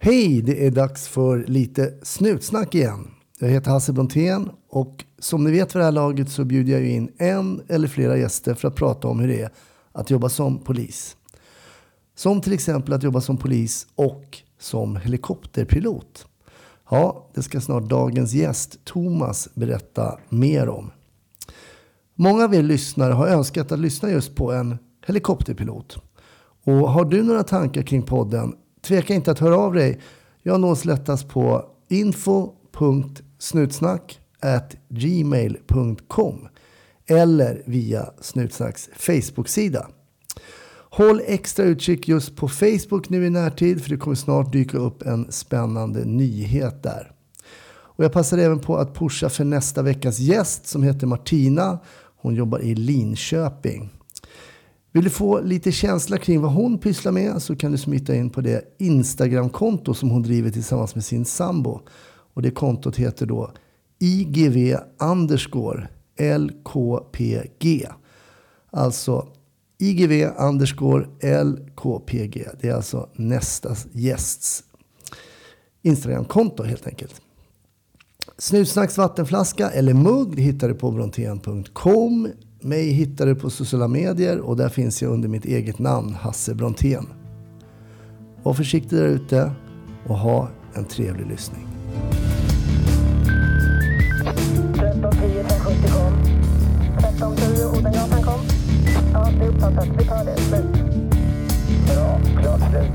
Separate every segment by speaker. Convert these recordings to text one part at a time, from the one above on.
Speaker 1: Hej, det är dags för lite snutsnack igen. Jag heter Hasse Brontén och som ni vet för det här laget så bjuder jag ju in en eller flera gäster för att prata om hur det är att jobba som polis. Som till exempel att jobba som polis och som helikopterpilot. Ja, det ska snart dagens gäst Thomas berätta mer om. Många av er lyssnare har önskat att lyssna just på en helikopterpilot. Och har du några tankar kring podden? Tveka inte att höra av dig. Jag nås lättast på info.snutsnack gmail.com eller via Snutsnacks Facebook-sida. Håll extra utkik just på Facebook nu i närtid för det kommer snart dyka upp en spännande nyhet där. Och jag passar även på att pusha för nästa veckas gäst som heter Martina. Hon jobbar i Linköping. Vill du få lite känsla kring vad hon pysslar med så kan du smita in på det Instagramkonto som hon driver tillsammans med sin sambo. Och det kontot heter då IGV underscore LKPG. Alltså IGV underscore LKPG. Det är alltså nästa gästs Instagramkonto helt enkelt. Snutsnacks vattenflaska eller mugg det hittar du på brontén.com. Mig hittar du på sociala medier och där finns jag under mitt eget namn, Hasse Brontén. Var försiktig där ute och ha en trevlig lyssning.
Speaker 2: 13 10 570 kom. 13 10 Odengatan kom. Ja, det är uppfattat. Vi tar det. Slut. Bra. Klart slut.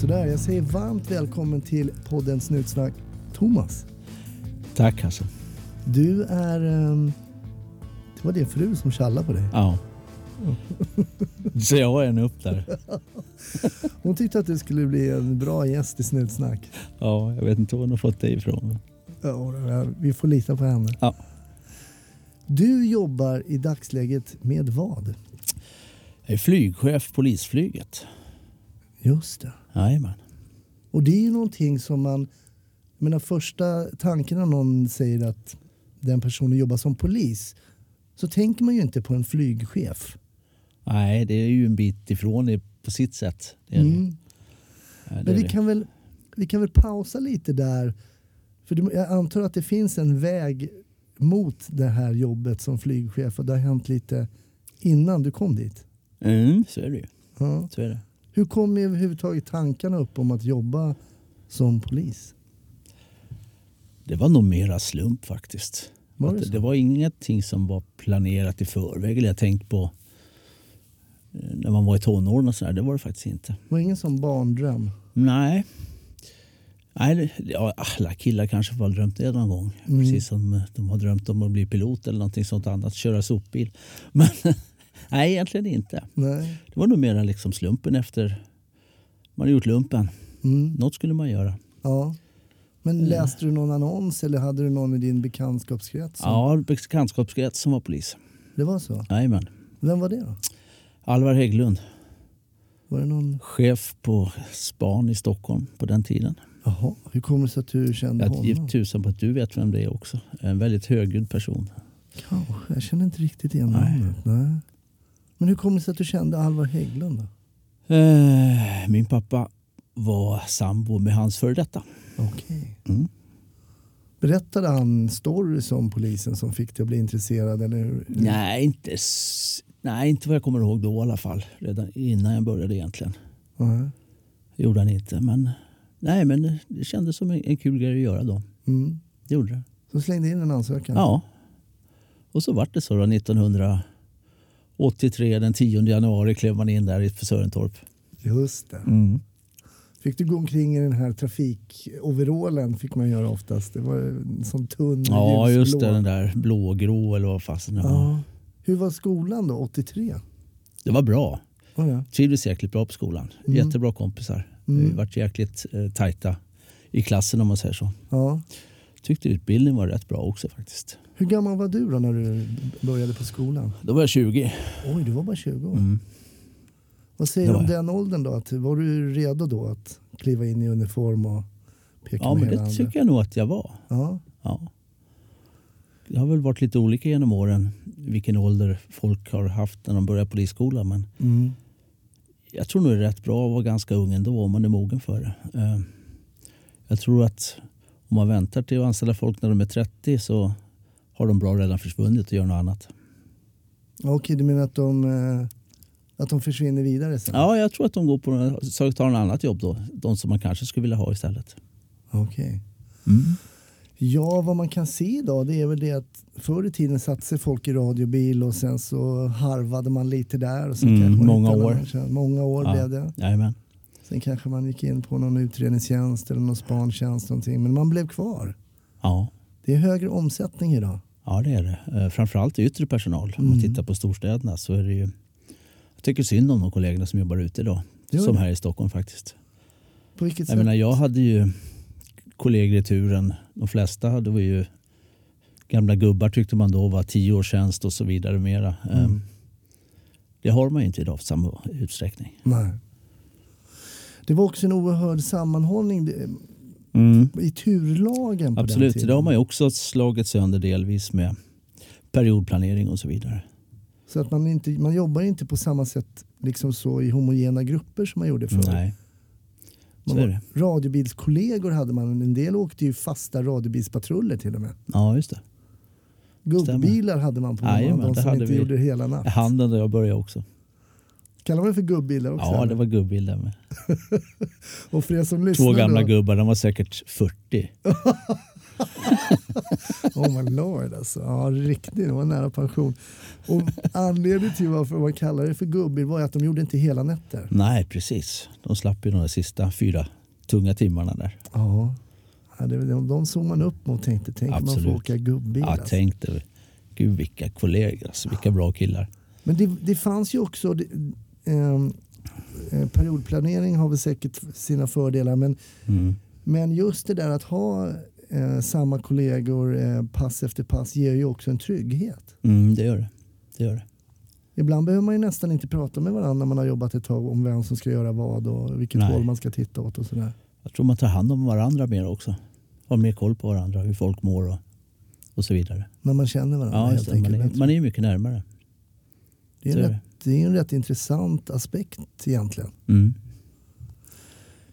Speaker 1: Sådär, jag säger varmt välkommen till podden Snutsnack, Thomas.
Speaker 3: Tack alltså. Hasse.
Speaker 1: Du är... ehm, Det var din fru som tjallade på dig.
Speaker 3: Ja. Så jag har en upp där.
Speaker 1: Hon tyckte att du skulle bli en bra gäst i Snutsnack.
Speaker 3: Ja, jag vet inte var hon har fått det ifrån.
Speaker 1: Ja, vi får lita på henne.
Speaker 3: Ja.
Speaker 1: Du jobbar i dagsläget med vad?
Speaker 3: Jag är flygchef polisflyget.
Speaker 1: Just det.
Speaker 3: Jajamän.
Speaker 1: Och det är ju någonting som man... Jag menar första tanken när någon säger att den personen jobbar som polis så tänker man ju inte på en flygchef.
Speaker 3: Nej, det är ju en bit ifrån det på sitt sätt. Det är det.
Speaker 1: Mm.
Speaker 3: Ja, det är
Speaker 1: Men vi
Speaker 3: det.
Speaker 1: kan, väl, vi kan väl pausa lite där. För det- jag antar att det finns en väg mot det här jobbet som flygchef och det har hänt lite innan du kom dit.
Speaker 3: Mm, så är det ju.
Speaker 1: Ja.
Speaker 3: Så är det.
Speaker 1: Hur kom överhuvudtaget tankarna upp om att jobba som polis?
Speaker 3: Det var nog mera slump faktiskt.
Speaker 1: Var
Speaker 3: Att
Speaker 1: det så?
Speaker 3: det, var ingenting som var planerat i förväg eller jag tänkt på eh, när man var i tonåren och sådär. Det var det faktiskt inte.
Speaker 1: Det var ingen sån barndröm.
Speaker 3: Nej. Nej, det- ja, alla killar kanske har drömt det någon gång.
Speaker 1: Mm.
Speaker 3: Precis som eh, de har drömt om att bli pilot eller någonting sånt annat, köra sopbil. Men nej, egentligen inte.
Speaker 1: Nej.
Speaker 3: Det var nog mera liksom slumpen efter man hade gjort lumpen.
Speaker 1: Mm.
Speaker 3: Något skulle man göra.
Speaker 1: Ja. Men
Speaker 3: Mm.
Speaker 1: läste du någon annons eller hade du någon i din bekantskapskrets? som-
Speaker 3: Ja, bekantskapskrets som var polis.
Speaker 1: Det var så?
Speaker 3: Jajamän.
Speaker 1: Vem var det då?
Speaker 3: Alvar Hägglund,
Speaker 1: Var det någon...
Speaker 3: chef på span i Stockholm på den tiden.
Speaker 1: Jaha, hur kommer det sig att du kände
Speaker 3: Jag
Speaker 1: honom?
Speaker 3: ger tusan på att du vet vem det är också. En väldigt högljudd person.
Speaker 1: Kanske. Jag känner inte riktigt igen
Speaker 3: Nej.
Speaker 1: namnet. Nej. Men hur kommer det sig att du kände Alvar Hägglund? Då?
Speaker 3: Eh, Min pappa var sambo med hans före detta.
Speaker 1: Okej.
Speaker 3: Mm.
Speaker 1: Berättade han stories om polisen som fick dig att bli intresserad? Eller hur?
Speaker 3: Nej inte, s- nej, inte vad jag kommer ihåg då i alla fall. Redan innan jag började egentligen.
Speaker 1: Nej.
Speaker 3: Det gjorde han inte. Men, nej, men det kändes som en, en kul grej att göra då.
Speaker 1: Mm.
Speaker 3: Det gjorde det.
Speaker 1: Så slängde in en ansökan?
Speaker 3: Ja. Och så vart det så då 1983 den 10 januari klev man in där i Sörentorp.
Speaker 1: Just det. Fick du gå omkring i den här trafikoverallen fick man göra oftast. Det var en sån tunn
Speaker 3: Ja
Speaker 1: ljusblå.
Speaker 3: just det, den där blågrå eller vad fasen det var.
Speaker 1: Ja. Hur var skolan då, 83?
Speaker 3: Det var bra.
Speaker 1: Var det?
Speaker 3: trivdes jäkligt bra på skolan.
Speaker 1: Mm.
Speaker 3: Jättebra kompisar.
Speaker 1: Mm.
Speaker 3: Vi vart jäkligt eh, tajta i klassen om man säger så.
Speaker 1: Ja.
Speaker 3: Tyckte utbildningen var rätt bra också faktiskt.
Speaker 1: Hur gammal var du då när du började på skolan?
Speaker 3: Då var jag 20.
Speaker 1: Oj, du var bara 20 år.
Speaker 3: Mm.
Speaker 1: Vad säger
Speaker 3: Det
Speaker 1: du
Speaker 3: var
Speaker 1: om
Speaker 3: jag.
Speaker 1: den åldern då? Att, var du redo då att kliva in i uniform och peka
Speaker 3: Ja
Speaker 1: med
Speaker 3: men
Speaker 1: hela
Speaker 3: det
Speaker 1: handen?
Speaker 3: tycker jag nog att jag var.
Speaker 1: Ja.
Speaker 3: Ja. Det har väl varit lite olika genom åren vilken ålder folk har haft när de börjar polisskolan. Men
Speaker 1: Mm.
Speaker 3: jag tror nog det är rätt bra att vara ganska ung ändå om man är mogen för det. Eh, Jag tror att om man väntar till att anställa folk när de är 30 så har de bra redan försvunnit och gör något annat.
Speaker 1: Okej, du menar att de, eh, att de försvinner vidare sen?
Speaker 3: Ja, jag tror att de går på så tar en annat jobb då. De som man kanske skulle vilja ha istället.
Speaker 1: Okej. Ja, vad man kan se idag det är väl det att förr i tiden satte sig folk i radiobil och sen så harvade man lite där. Och sen
Speaker 3: Mm,
Speaker 1: kanske man
Speaker 3: många
Speaker 1: hittade
Speaker 3: år.
Speaker 1: någon tjänst. Många år
Speaker 3: Ja.
Speaker 1: blev det.
Speaker 3: Jajamän.
Speaker 1: Sen kanske man gick in på någon utredningstjänst eller någon spantjänst någonting. Men man blev kvar.
Speaker 3: Ja.
Speaker 1: Det är högre omsättning idag.
Speaker 3: ja, det är det. Eh, Framförallt yttre personal. Om man tittar på storstäderna så är det ju... Jag tycker synd om de kollegorna som jobbar ute idag.
Speaker 1: Gör
Speaker 3: Som
Speaker 1: det?
Speaker 3: här i Stockholm faktiskt.
Speaker 1: På vilket
Speaker 3: Jag
Speaker 1: sätt?
Speaker 3: menar, jag hade ju kollegor i turen. De flesta hade var ju gamla gubbar tyckte man då var tio års tjänst och så vidare mera. Ehm, Det har man ju inte idag i samma utsträckning.
Speaker 1: Nej. Det var också en oerhörd sammanhållning det- i turlagen på den
Speaker 3: Absolut,
Speaker 1: tiden.
Speaker 3: det har man ju också slagit sönder delvis med periodplanering och så vidare.
Speaker 1: Så att man, inte, man jobbar inte på samma sätt liksom så i homogena grupper som man gjorde förr.
Speaker 3: Nej,
Speaker 1: Mm. Man
Speaker 3: så är
Speaker 1: var- Radiobilskollegor hade man. En del åkte ju fasta radiobilspatruller till och med.
Speaker 3: ja just det.
Speaker 1: Gubbbilar hade man på
Speaker 3: Jajamän,
Speaker 1: de
Speaker 3: det
Speaker 1: som
Speaker 3: hade
Speaker 1: inte
Speaker 3: vi.
Speaker 1: gjorde det hela natt.
Speaker 3: Handeln där jag började också.
Speaker 1: Kallar man det för gubbbilar också?
Speaker 3: Ja,
Speaker 1: eller?
Speaker 3: det var gubbil där med.
Speaker 1: Och för er som lyssnar
Speaker 3: Två gamla
Speaker 1: då-
Speaker 3: gubbar, de var säkert 40.
Speaker 1: Oh my lord alltså. Ja, riktigt. Det var nära pension. Och anledningen till varför man kallar det för gubbbil var ju att de gjorde inte hela nätter.
Speaker 3: Nej, precis. De slapp ju de där sista fyra tunga timmarna där.
Speaker 1: Ja. Ja, det, de, de såg man upp mot tänkte, tänk om man får
Speaker 3: Absolut.
Speaker 1: åka gubbbil.
Speaker 3: Ja,
Speaker 1: alltså.
Speaker 3: tänk dig. Gud vilka kollegor alltså, vilka bra killar.
Speaker 1: Men det, det fanns ju också, det, ehm, eh, periodplanering har väl säkert sina fördelar men,
Speaker 3: Mm.
Speaker 1: men just det där att ha eh, samma kollegor eh, pass efter pass ger ju också en trygghet.
Speaker 3: Mm, det gör det. Det gör det.
Speaker 1: Ibland behöver man ju nästan inte prata med varandra när man har jobbat ett tag om vem som ska göra vad och vilket
Speaker 3: Nej.
Speaker 1: håll man ska titta åt och sådär.
Speaker 3: Jag tror man tar hand om varandra mer också. Har mer koll på varandra, hur folk mår och, och så vidare.
Speaker 1: När man känner varandra
Speaker 3: Ja, just
Speaker 1: helt
Speaker 3: det. Man,
Speaker 1: enkelt.
Speaker 3: är, man är ju mycket närmare.
Speaker 1: det, är
Speaker 3: så
Speaker 1: en
Speaker 3: är
Speaker 1: rätt, det är en rätt intressant aspekt egentligen.
Speaker 3: Mm.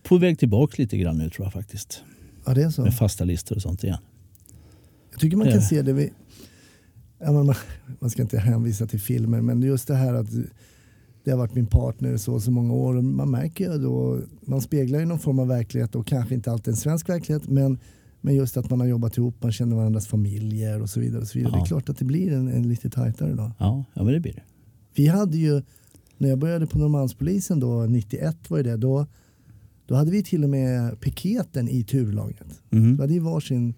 Speaker 3: På väg tillbaka lite grann nu tror jag faktiskt.
Speaker 1: Ja, det är så.
Speaker 3: Med fasta listor och sånt igen.
Speaker 1: Jag tycker man
Speaker 3: Det är
Speaker 1: kan
Speaker 3: det.
Speaker 1: se det vid, ja, man, man- man ska inte hänvisa till filmer men just det här att det har varit min partner i så och så många år och man märker ju då, man speglar ju någon form av verklighet och kanske inte alltid en svensk verklighet men, men just att man har jobbat ihop, man känner varandras familjer och så vidare. Och så vidare.
Speaker 3: Ja.
Speaker 1: Det är klart att det blir en, en lite tajtare då.
Speaker 3: Ja, ja men det blir det.
Speaker 1: Vi hade ju, när jag började på Norrmalmspolisen då, 91 var ju det, då, då hade vi till och med piketen i turlaget.
Speaker 3: Mm.
Speaker 1: Det hade ju varsin,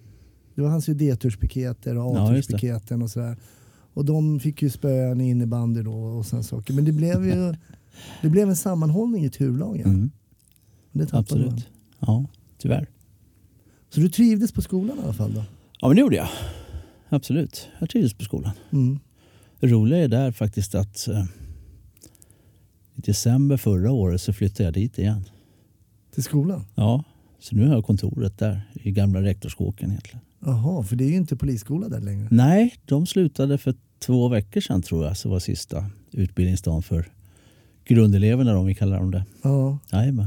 Speaker 1: det var hans ju D-turspiketer och
Speaker 3: Ja, just det.
Speaker 1: A-turspiketen och sådär. Och de fick ju spöen i innebandy då och sådana saker. Men det blev ju det blev en sammanhållning i turlagen.
Speaker 3: Mm.
Speaker 1: Det tappade man.
Speaker 3: Absolut. Ja, tyvärr.
Speaker 1: Så du trivdes på skolan i alla fall då?
Speaker 3: Ja, men det gjorde jag. Absolut. Jag trivdes på skolan.
Speaker 1: Mm.
Speaker 3: Det roliga är där faktiskt att eh, i december förra året så flyttade jag dit igen.
Speaker 1: Till skolan?
Speaker 3: Ja, så nu har jag kontoret där i gamla rektorskåken egentligen.
Speaker 1: Jaha, för det är ju inte polisskola där längre.
Speaker 3: Nej, de slutade för två veckor sedan tror jag, så var sista utbildningsdagen för grundeleverna om vi kallar dem det.
Speaker 1: Ja,
Speaker 3: Jajamän.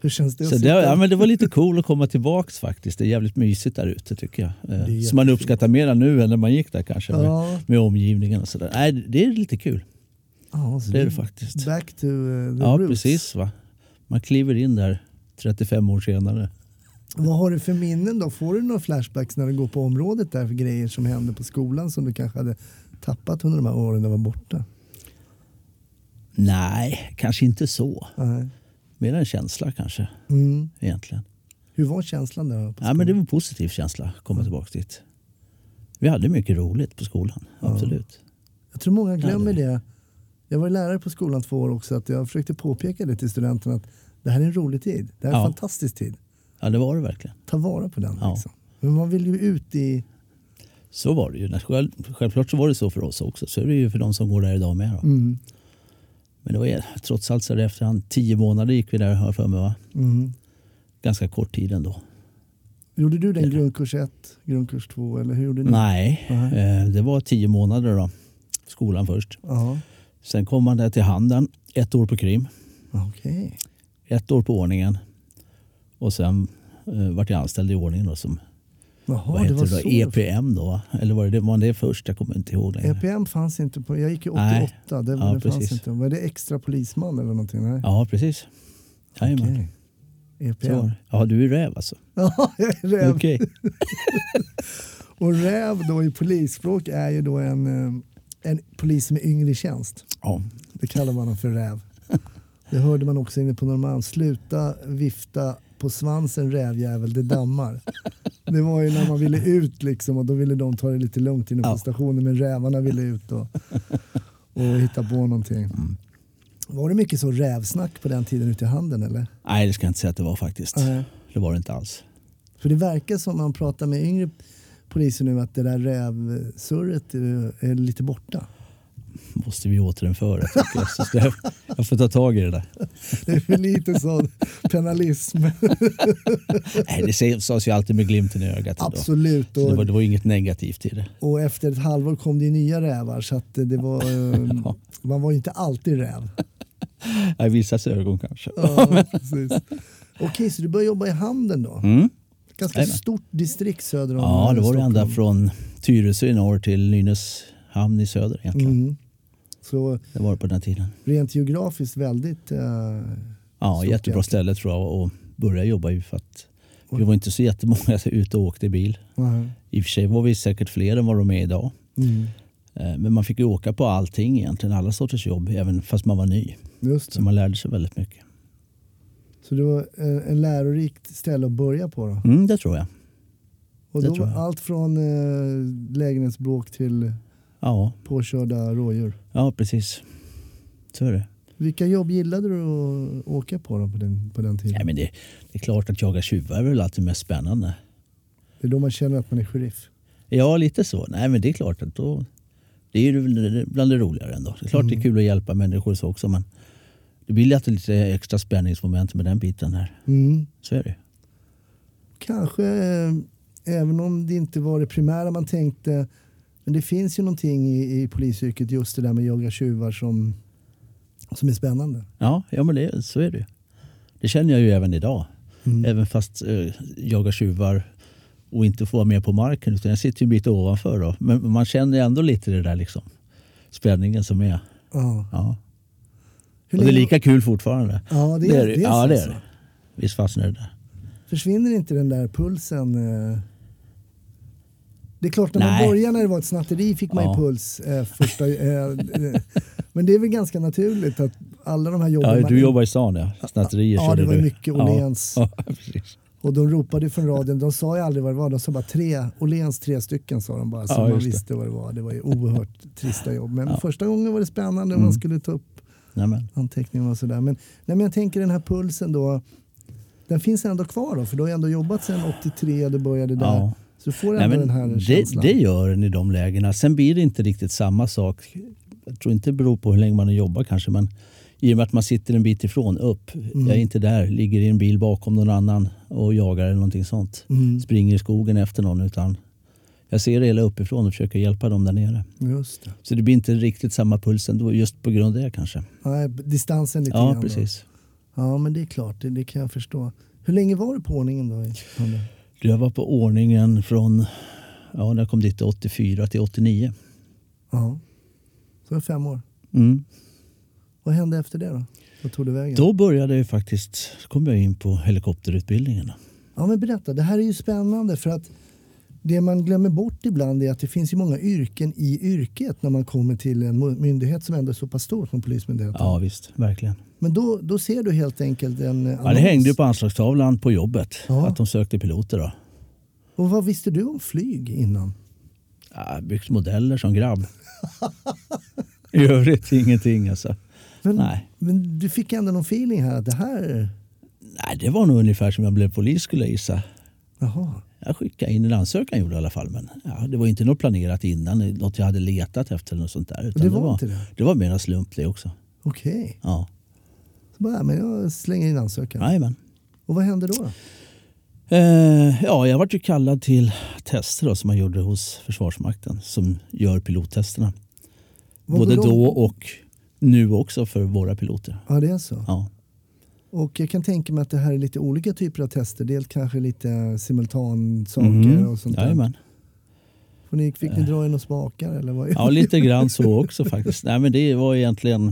Speaker 1: hur känns det? att
Speaker 3: Så det,
Speaker 1: sitta-
Speaker 3: ja, men det var lite cool att komma tillbaks faktiskt. Det är jävligt mysigt där ute tycker jag. Eh,
Speaker 1: jättefint.
Speaker 3: Som man uppskattar mera nu än när man gick där kanske. Med,
Speaker 1: ja,
Speaker 3: med omgivningen och sådär. Nej, det är lite kul.
Speaker 1: ja, så
Speaker 3: Det är det faktiskt.
Speaker 1: Back to uh, the
Speaker 3: Ja,
Speaker 1: roots.
Speaker 3: precis. Va? Man kliver in där 35 år senare.
Speaker 1: Vad har du för minnen då? Får du några flashbacks när du går på området där för grejer som hände på skolan som du kanske hade tappat under de här åren du var borta?
Speaker 3: Nej, kanske inte så.
Speaker 1: Nej.
Speaker 3: Mer en känsla kanske
Speaker 1: Mm.
Speaker 3: egentligen.
Speaker 1: Hur var känslan där? På
Speaker 3: Ja, men det var en positiv känsla att
Speaker 1: Mm.
Speaker 3: komma tillbaka dit. Vi hade mycket roligt på skolan, absolut.
Speaker 1: Jag tror många glömmer
Speaker 3: Ja,
Speaker 1: det. Jag var lärare på skolan två år också. Att jag försökte påpeka det till studenterna att det här är en rolig tid. Det här är en
Speaker 3: Ja.
Speaker 1: fantastisk tid.
Speaker 3: Ja, det var det verkligen.
Speaker 1: Ta vara på den.
Speaker 3: Ja.
Speaker 1: Liksom. Men man vill ju ut i...
Speaker 3: Så var det ju. När- själv- Självklart så var det så för oss också. Så är det ju för de som går där idag med. Då.
Speaker 1: Mm.
Speaker 3: Men det var ju- trots allt så där i efterhand, tio månader gick vi där har jag för mig va?
Speaker 1: Mm.
Speaker 3: Ganska kort tid ändå.
Speaker 1: Gjorde du den grundkurs 1, grundkurs 2 eller hur gjorde ni?
Speaker 3: Nej,
Speaker 1: Nej.
Speaker 3: eh, det var tio månader då. Skolan först.
Speaker 1: Ja.
Speaker 3: Sen kom man där till Handen, ett år på krim.
Speaker 1: Okej.
Speaker 3: Ett år på ordningen. Och sen eh, vart jag anställd i ordningen då som
Speaker 1: Jaha,
Speaker 3: vad
Speaker 1: det
Speaker 3: heter
Speaker 1: var
Speaker 3: det
Speaker 1: så.
Speaker 3: då?
Speaker 1: det var.
Speaker 3: EPM då? va? Eller var det, var det först? Jag kommer inte ihåg längre.
Speaker 1: EPM fanns inte på... Jag gick i 88.
Speaker 3: Nej.
Speaker 1: Det,
Speaker 3: Ja,
Speaker 1: det fanns
Speaker 3: precis.
Speaker 1: inte. Var det extra polisman eller någonting? Nej.
Speaker 3: Ja, precis. Jajamän.
Speaker 1: Okej. E
Speaker 3: Så var
Speaker 1: EPM.
Speaker 3: det. Ja, du är räv
Speaker 1: E
Speaker 3: alltså.
Speaker 1: Ja, räv.
Speaker 3: Okej.
Speaker 1: Och räv då i polisspråk är ju då en, eh, en polis som är yngre i tjänst.
Speaker 3: Ja.
Speaker 1: Det kallar man dem för räv. Det hörde man också inne på Norrmalm. Sluta vifta på svansen rävjävel, det dammar. Det var ju när man ville ut liksom och då ville de ta det lite lugnt inne på
Speaker 3: Ja.
Speaker 1: stationen men rävarna ville ut och, och hitta på någonting.
Speaker 3: Mm.
Speaker 1: Var det mycket så rävsnack på den tiden ute i handeln eller?
Speaker 3: Nej, det ska jag inte säga att det var faktiskt.
Speaker 1: Nej.
Speaker 3: Det var det inte alls.
Speaker 1: För det verkar som man pratar med yngre poliser nu att det där rävsurret är, är lite borta.
Speaker 3: Måste vi återinföra tycker jag. Så ska jag, jag får ta tag i det där.
Speaker 1: Det är för lite sån penalism.
Speaker 3: Nej, det sägs- sades ju alltid med glimten i ögat. ändå.
Speaker 1: Absolut.
Speaker 3: Så
Speaker 1: Och
Speaker 3: det, var, det var inget negativt i det.
Speaker 1: Och efter ett halvår kom det ju nya rävar så att det var, eh,
Speaker 3: Ja.
Speaker 1: man var ju inte alltid räv.
Speaker 3: I vissas ögon kanske.
Speaker 1: Ja, precis. Okej, så du började jobba i handeln då?
Speaker 3: Mm.
Speaker 1: Ganska
Speaker 3: Jajamän.
Speaker 1: stort distrikt söder om
Speaker 3: Ja, det var det
Speaker 1: Stockholm.
Speaker 3: ända från Tyresö i norr till Nynäshamn i söder egentligen.
Speaker 1: Mm. Så
Speaker 3: Det var det på den här tiden.
Speaker 1: rent geografiskt väldigt... eh,
Speaker 3: Ja,
Speaker 1: Stort
Speaker 3: jättebra
Speaker 1: jäkla.
Speaker 3: ställe tror jag att börja jobba i för att vi var inte så jättemånga som ute och åkte i bil.
Speaker 1: nej.
Speaker 3: I och för sig var vi säkert fler än vad de är idag.
Speaker 1: mm.
Speaker 3: Eh, Men man fick ju åka på allting egentligen, alla sorters jobb, även fast man var ny.
Speaker 1: Just
Speaker 3: Så
Speaker 1: det.
Speaker 3: man lärde sig väldigt mycket.
Speaker 1: Så det var en, en lärorikt ställe att börja på då?
Speaker 3: Mm, det tror jag.
Speaker 1: Och
Speaker 3: det
Speaker 1: då
Speaker 3: tror
Speaker 1: var
Speaker 3: jag.
Speaker 1: allt från eh, lägenhetsbråk till
Speaker 3: Ja,
Speaker 1: påkörda rådjur.
Speaker 3: ja precis. Så är det.
Speaker 1: Vilka jobb gillade du att åka på då på den, på den tiden?
Speaker 3: Nej, men det, det är klart att jaga tjuvar är väl alltid mest spännande.
Speaker 1: Det är då man känner att man är sheriff.
Speaker 3: Ja, lite så. Nej, men det är klart att då... Det är ju väl bland det roligare ändå. Det är klart
Speaker 1: Mm.
Speaker 3: det är kul att hjälpa människor så också, men det blir ju alltid lite extra spänningsmoment med den biten här.
Speaker 1: Mm.
Speaker 3: Så är det ju.
Speaker 1: Kanske, eh, även om det inte var det primära man tänkte, men det finns ju någonting i, i polisyrket, just det där med jaga tjuvar som, som är spännande.
Speaker 3: Ja, ja men det, så är det ju. Det känner jag ju även idag.
Speaker 1: Mm.
Speaker 3: Även fast eh, jaga tjuvar och inte får vara med på marken utan jag sitter ju en bit ovanför då. Men man känner ju ändå lite det där liksom. Spänningen som är.
Speaker 1: Ja.
Speaker 3: Ja.
Speaker 1: Hur
Speaker 3: och det är
Speaker 1: länge-
Speaker 3: lika kul fortfarande.
Speaker 1: Ja, det är det. Är
Speaker 3: ja,
Speaker 1: så
Speaker 3: det är
Speaker 1: alltså.
Speaker 3: det. Visst fasen är det där.
Speaker 1: Försvinner inte den där pulsen? eh? Det är klart, när man
Speaker 3: Nej.
Speaker 1: började när det var ett snatteri fick man ju
Speaker 3: Ja.
Speaker 1: puls. Eh, första, eh, eh, men det är väl ganska naturligt att alla de här jobben...
Speaker 3: Ja,
Speaker 1: man-
Speaker 3: du jobbar i stan ja. Snatterier
Speaker 1: Ja,
Speaker 3: körde
Speaker 1: det var
Speaker 3: du.
Speaker 1: mycket Åhléns.
Speaker 3: Ja, ja, precis.
Speaker 1: Och de ropade från radion, de sa ju aldrig vad det var, de sa bara tre, Åhléns tre stycken sa de bara så
Speaker 3: Ja,
Speaker 1: man
Speaker 3: just det.
Speaker 1: visste vad det var. Det var ju oerhört trista jobb. Men första gången var det spännande
Speaker 3: Mm.
Speaker 1: och man skulle ta upp
Speaker 3: Nej, men.
Speaker 1: anteckningar och sådär. Men, nej, men jag tänker den här pulsen då, den finns ändå kvar då? För du har ju ändå jobbat sedan 83, du började där.
Speaker 3: Ja.
Speaker 1: Så du får ändå
Speaker 3: Nej, men
Speaker 1: den här
Speaker 3: det,
Speaker 1: känslan.
Speaker 3: det gör den i de lägena. Sen blir det inte riktigt samma sak. Jag tror inte det beror på hur länge man har jobbat kanske, men i och med att man sitter en bit ifrån, upp.
Speaker 1: Mm.
Speaker 3: Jag är inte där, ligger i en bil bakom någon annan och jagar eller någonting sånt.
Speaker 1: Mm.
Speaker 3: Springer i skogen efter någon, utan jag ser det hela uppifrån och försöker hjälpa dem där nere.
Speaker 1: Just det.
Speaker 3: Så det blir inte riktigt samma puls ändå, just på grund av det kanske.
Speaker 1: Nej, distansen lite grann
Speaker 3: Ja,
Speaker 1: då.
Speaker 3: precis.
Speaker 1: Ja, men det är klart, det, det kan jag förstå. Hur länge var du på ordningen då? i Handen?
Speaker 3: Du, Jag var på ordningen från, ja, när jag kom dit 84 till 89.
Speaker 1: Ja, så det var fem år.
Speaker 3: Mm.
Speaker 1: Vad hände efter det då? Vad tog du vägen?
Speaker 3: Då började jag faktiskt, kom jag in på helikopterutbildningen.
Speaker 1: Ja, men berätta. Det här är ju spännande för att det man glömmer bort ibland är att det finns ju många yrken i yrket när man kommer till en mu- myndighet som ändå är så pass stor som Polismyndigheten.
Speaker 3: Ja visst, verkligen.
Speaker 1: Men då, då ser du helt enkelt en eh,
Speaker 3: Ja, det
Speaker 1: annons.
Speaker 3: hängde ju på anslagstavlan på jobbet
Speaker 1: Ja.
Speaker 3: att de sökte piloter. Då.
Speaker 1: Och vad visste du om flyg innan?
Speaker 3: Ja, byggt modeller som grabb. I övrigt ingenting alltså.
Speaker 1: Men,
Speaker 3: Nej.
Speaker 1: men du fick ändå någon feeling här att det här...
Speaker 3: Nej, det var nog ungefär som jag blev polis skulle jag gissa.
Speaker 1: Jaha.
Speaker 3: Jag skickade in en ansökan gjorde jag i alla fall. Men ja, det var inte något planerat innan, något jag hade letat efter eller något sånt där. Utan
Speaker 1: Det var inte det?
Speaker 3: Det var mera slump det också.
Speaker 1: Okej.
Speaker 3: Ja.
Speaker 1: Så bara, ja, men jag slänger in ansökan.
Speaker 3: Jajamän.
Speaker 1: Och vad hände då? då?
Speaker 3: Eh, ja, jag vart ju kallad till tester då, som man gjorde hos Försvarsmakten som gör pilottesterna.
Speaker 1: Vad
Speaker 3: Både
Speaker 1: går de-
Speaker 3: då och nu också för våra piloter.
Speaker 1: Ja, det är så.
Speaker 3: Ja.
Speaker 1: Och jag kan tänka mig att det här är lite olika typer av tester. Dels kanske lite simultansaker
Speaker 3: Mm-hmm.
Speaker 1: och sånt där.
Speaker 3: Mm. Jajamän.
Speaker 1: Och ni, fick ni dra in och spakar eller vad?
Speaker 3: Eh. Ja, lite grann så också faktiskt. Nej, men det var egentligen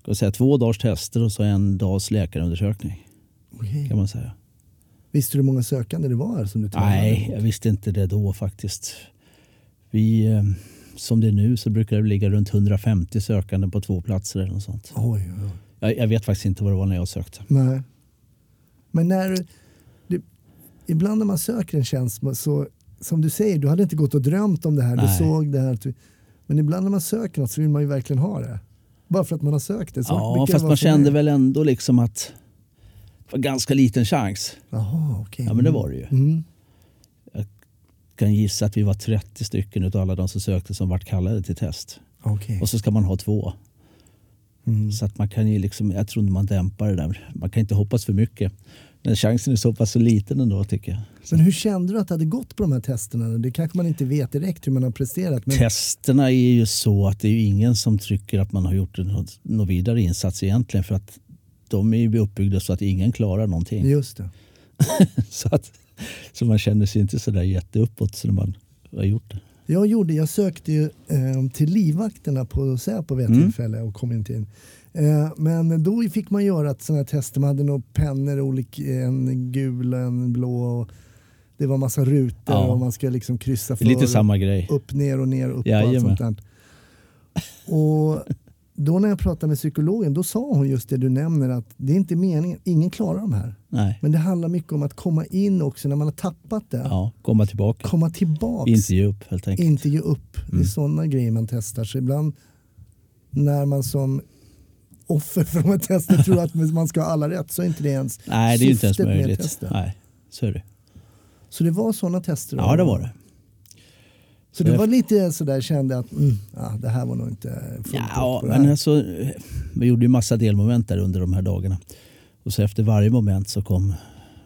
Speaker 3: ska jag säga, två dagars tester och så en dags läkarundersökning
Speaker 1: Okej.
Speaker 3: kan man säga.
Speaker 1: Visste du hur många sökande det var som du tävlade
Speaker 3: Nej,
Speaker 1: mot?
Speaker 3: jag visste inte det då faktiskt. Vi, eh, som det är nu så brukar det ligga runt 150 sökande på två platser eller något sånt.
Speaker 1: Oj, oj, oj.
Speaker 3: Jag, jag vet faktiskt inte vad det var när jag sökte.
Speaker 1: Nej. Men när du, du, ibland när man söker en tjänst så, som du säger, du hade inte gått och drömt om det här. Du
Speaker 3: Nej.
Speaker 1: såg det här. att du- Men ibland när man söker något så vill man ju verkligen ha det. Bara för att man har sökt det. Så
Speaker 3: Ja,
Speaker 1: vilka
Speaker 3: fast
Speaker 1: var
Speaker 3: man
Speaker 1: som är?
Speaker 3: kände väl ändå liksom att det var ganska liten chans.
Speaker 1: Jaha, okej.
Speaker 3: Ja, men det var det ju.
Speaker 1: Mm.
Speaker 3: Kan gissa att vi var 30 stycken utav alla de som sökte som vart kallade till test.
Speaker 1: Okej.
Speaker 3: Och så ska man ha två.
Speaker 1: Mm.
Speaker 3: Så att man kan ju liksom, jag tror man dämpar det där. Man kan inte hoppas för mycket. Men chansen är så pass så liten ändå tycker jag.
Speaker 1: Men hur kände du att det hade gått på de här testerna? Det kanske man inte vet direkt hur man har presterat. Men,
Speaker 3: Testerna är ju så att det är ju ingen som tycker att man har gjort något, något vidare insats egentligen. För att de är ju uppbyggda så att ingen klarar någonting.
Speaker 1: just det.
Speaker 3: Så, att, så man känner sig inte sådär jätteuppåt när man har gjort det.
Speaker 1: Jag, gjorde, jag sökte ju eh, till livvakterna på Säpo vid ett
Speaker 3: Mm.
Speaker 1: tillfälle och kom inte in. Eh, men då fick man göra ett sådant här test. Man hade några pennor, olik, en gul och en blå. Och det var massa rutor
Speaker 3: Ja.
Speaker 1: och man ska liksom kryssa
Speaker 3: Det
Speaker 1: för.
Speaker 3: är lite samma grej.
Speaker 1: upp, ner och ner, upp och allt
Speaker 3: Jajamän.
Speaker 1: sånt där. Och då när jag pratade med psykologen, då sa hon just det du nämner att det är inte meningen, ingen klarar de här.
Speaker 3: Nej.
Speaker 1: Men det handlar mycket om att komma in också när man har tappat det.
Speaker 3: Ja, komma tillbaka.
Speaker 1: Komma tillbaks,
Speaker 3: Inte ge upp helt enkelt.
Speaker 1: inte ge upp. Det
Speaker 3: Mm.
Speaker 1: är sådana grejer man testar. Så ibland när man som offer för de här testerna tror att man ska ha alla rätt så är inte det ens
Speaker 3: Nej, det är ju inte ens
Speaker 1: syftet med
Speaker 3: möjligt.
Speaker 1: testen.
Speaker 3: Nej, så är det.
Speaker 1: Så det var sådana tester? då?
Speaker 3: Ja, det var det.
Speaker 1: Så du var lite sådär kände att mm, ja, det här var nog inte fullt upp
Speaker 3: Ja,
Speaker 1: på det
Speaker 3: men
Speaker 1: här.
Speaker 3: alltså, eh, vi gjorde ju massa delmoment där under de här dagarna. Och så efter varje moment så kom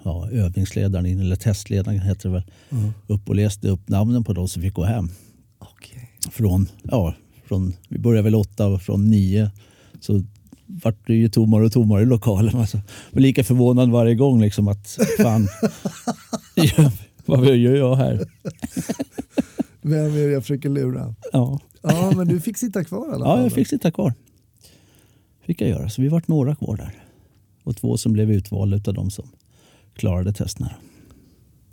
Speaker 3: ja, övningsledaren in, eller testledaren heter det väl,
Speaker 1: Mm.
Speaker 3: upp och läste upp namnen på de som fick gå hem.
Speaker 1: Okej.
Speaker 3: Från, ja, från, vi började väl åtta och från nio så vart det ju tommare och tommare i lokalen. Alltså. Men lika förvånad varje gång liksom att fan, ja, vad gör jag här?
Speaker 1: Vem är det jag försöker lura?
Speaker 3: Ja,
Speaker 1: Ja, men du fick sitta kvar i alla fall.
Speaker 3: ja jag fick sitta kvar. fick jag göra, så vi vart några kvar där. Och två som blev utvalda av de som klarade testerna.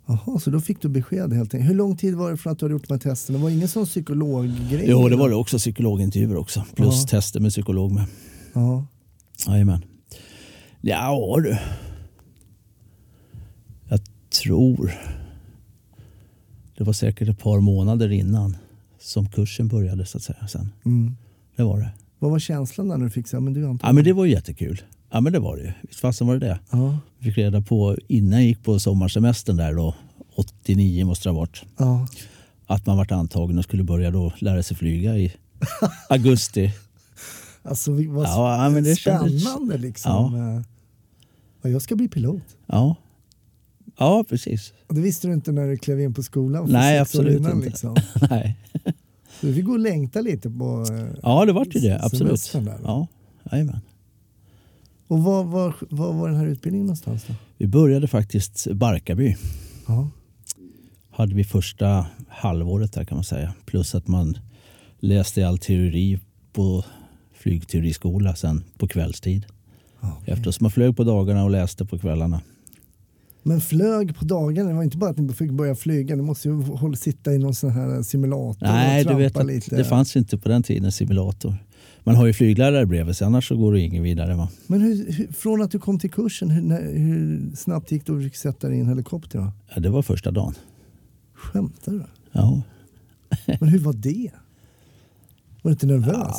Speaker 1: Jaha, så då fick du besked helt enkelt. Hur lång tid var det från att du hade gjort de här testerna? Det var ingen sån psykologgrej?
Speaker 3: Jo, det var det också psykologintervjuer också. Plus
Speaker 1: Ja.
Speaker 3: tester med psykolog med.
Speaker 1: Ja.
Speaker 3: Jajamän. Ja du. Jag tror. Det var säkert ett par månader innan som kursen började så att säga. Sen.
Speaker 1: Mm.
Speaker 3: Det var det.
Speaker 1: Vad var känslan när du fick säga, men du Anton?
Speaker 3: Ja men det var ju jättekul. Ja men det var det ju. Visst fasen var det det.
Speaker 1: Ja.
Speaker 3: Vi fick reda på innan jag gick på sommarsemestern där då. 89 måste det ha varit.
Speaker 1: ja.
Speaker 3: Att man vart antagen och skulle börja då lära sig flyga i augusti.
Speaker 1: Alltså, vi var
Speaker 3: Ja, ja, men det
Speaker 1: spännande
Speaker 3: kändes-
Speaker 1: liksom. Ja. jag ska bli pilot.
Speaker 3: Ja. Ja precis.
Speaker 1: Och det visste du inte när du klev in på skolan för
Speaker 3: Nej,
Speaker 1: sex år
Speaker 3: absolut
Speaker 1: innan,
Speaker 3: inte.
Speaker 1: Liksom.
Speaker 3: Nej.
Speaker 1: Så vi fick gå och längta lite på... eh,
Speaker 3: Ja, det vart ju det. Absolut.
Speaker 1: Semestern där, va?
Speaker 3: Ja, jajamän.
Speaker 1: Och var, var, var var den här utbildningen någonstans då?
Speaker 3: Vi började faktiskt Barkarby.
Speaker 1: Ja.
Speaker 3: Hade vi första halvåret där kan man säga. Plus att man läste all teori på flygteoriskola sen på kvällstid.
Speaker 1: Mm. Ja, okej.
Speaker 3: Eftersom man flög på dagarna och läste på kvällarna.
Speaker 1: Men flög på dagarna, det var inte bara att ni fick börja flyga, ni måste ju hålla, sitta i någon sån här eh, simulator
Speaker 3: Nej,
Speaker 1: och
Speaker 3: du
Speaker 1: trampa
Speaker 3: vet att
Speaker 1: lite.
Speaker 3: det fanns inte på den tiden simulator. Man har ju flyglärare bredvid sig, annars så går det ingen vidare. Va?
Speaker 1: Men hur, hur, från att du kom till kursen, hur, när, hur snabbt gick det att du fick sätta dig i en helikopter? Då?
Speaker 3: Ja, det var första dagen.
Speaker 1: Skämtar du?
Speaker 3: Ja.
Speaker 1: Men hur var det? Var du inte nervös?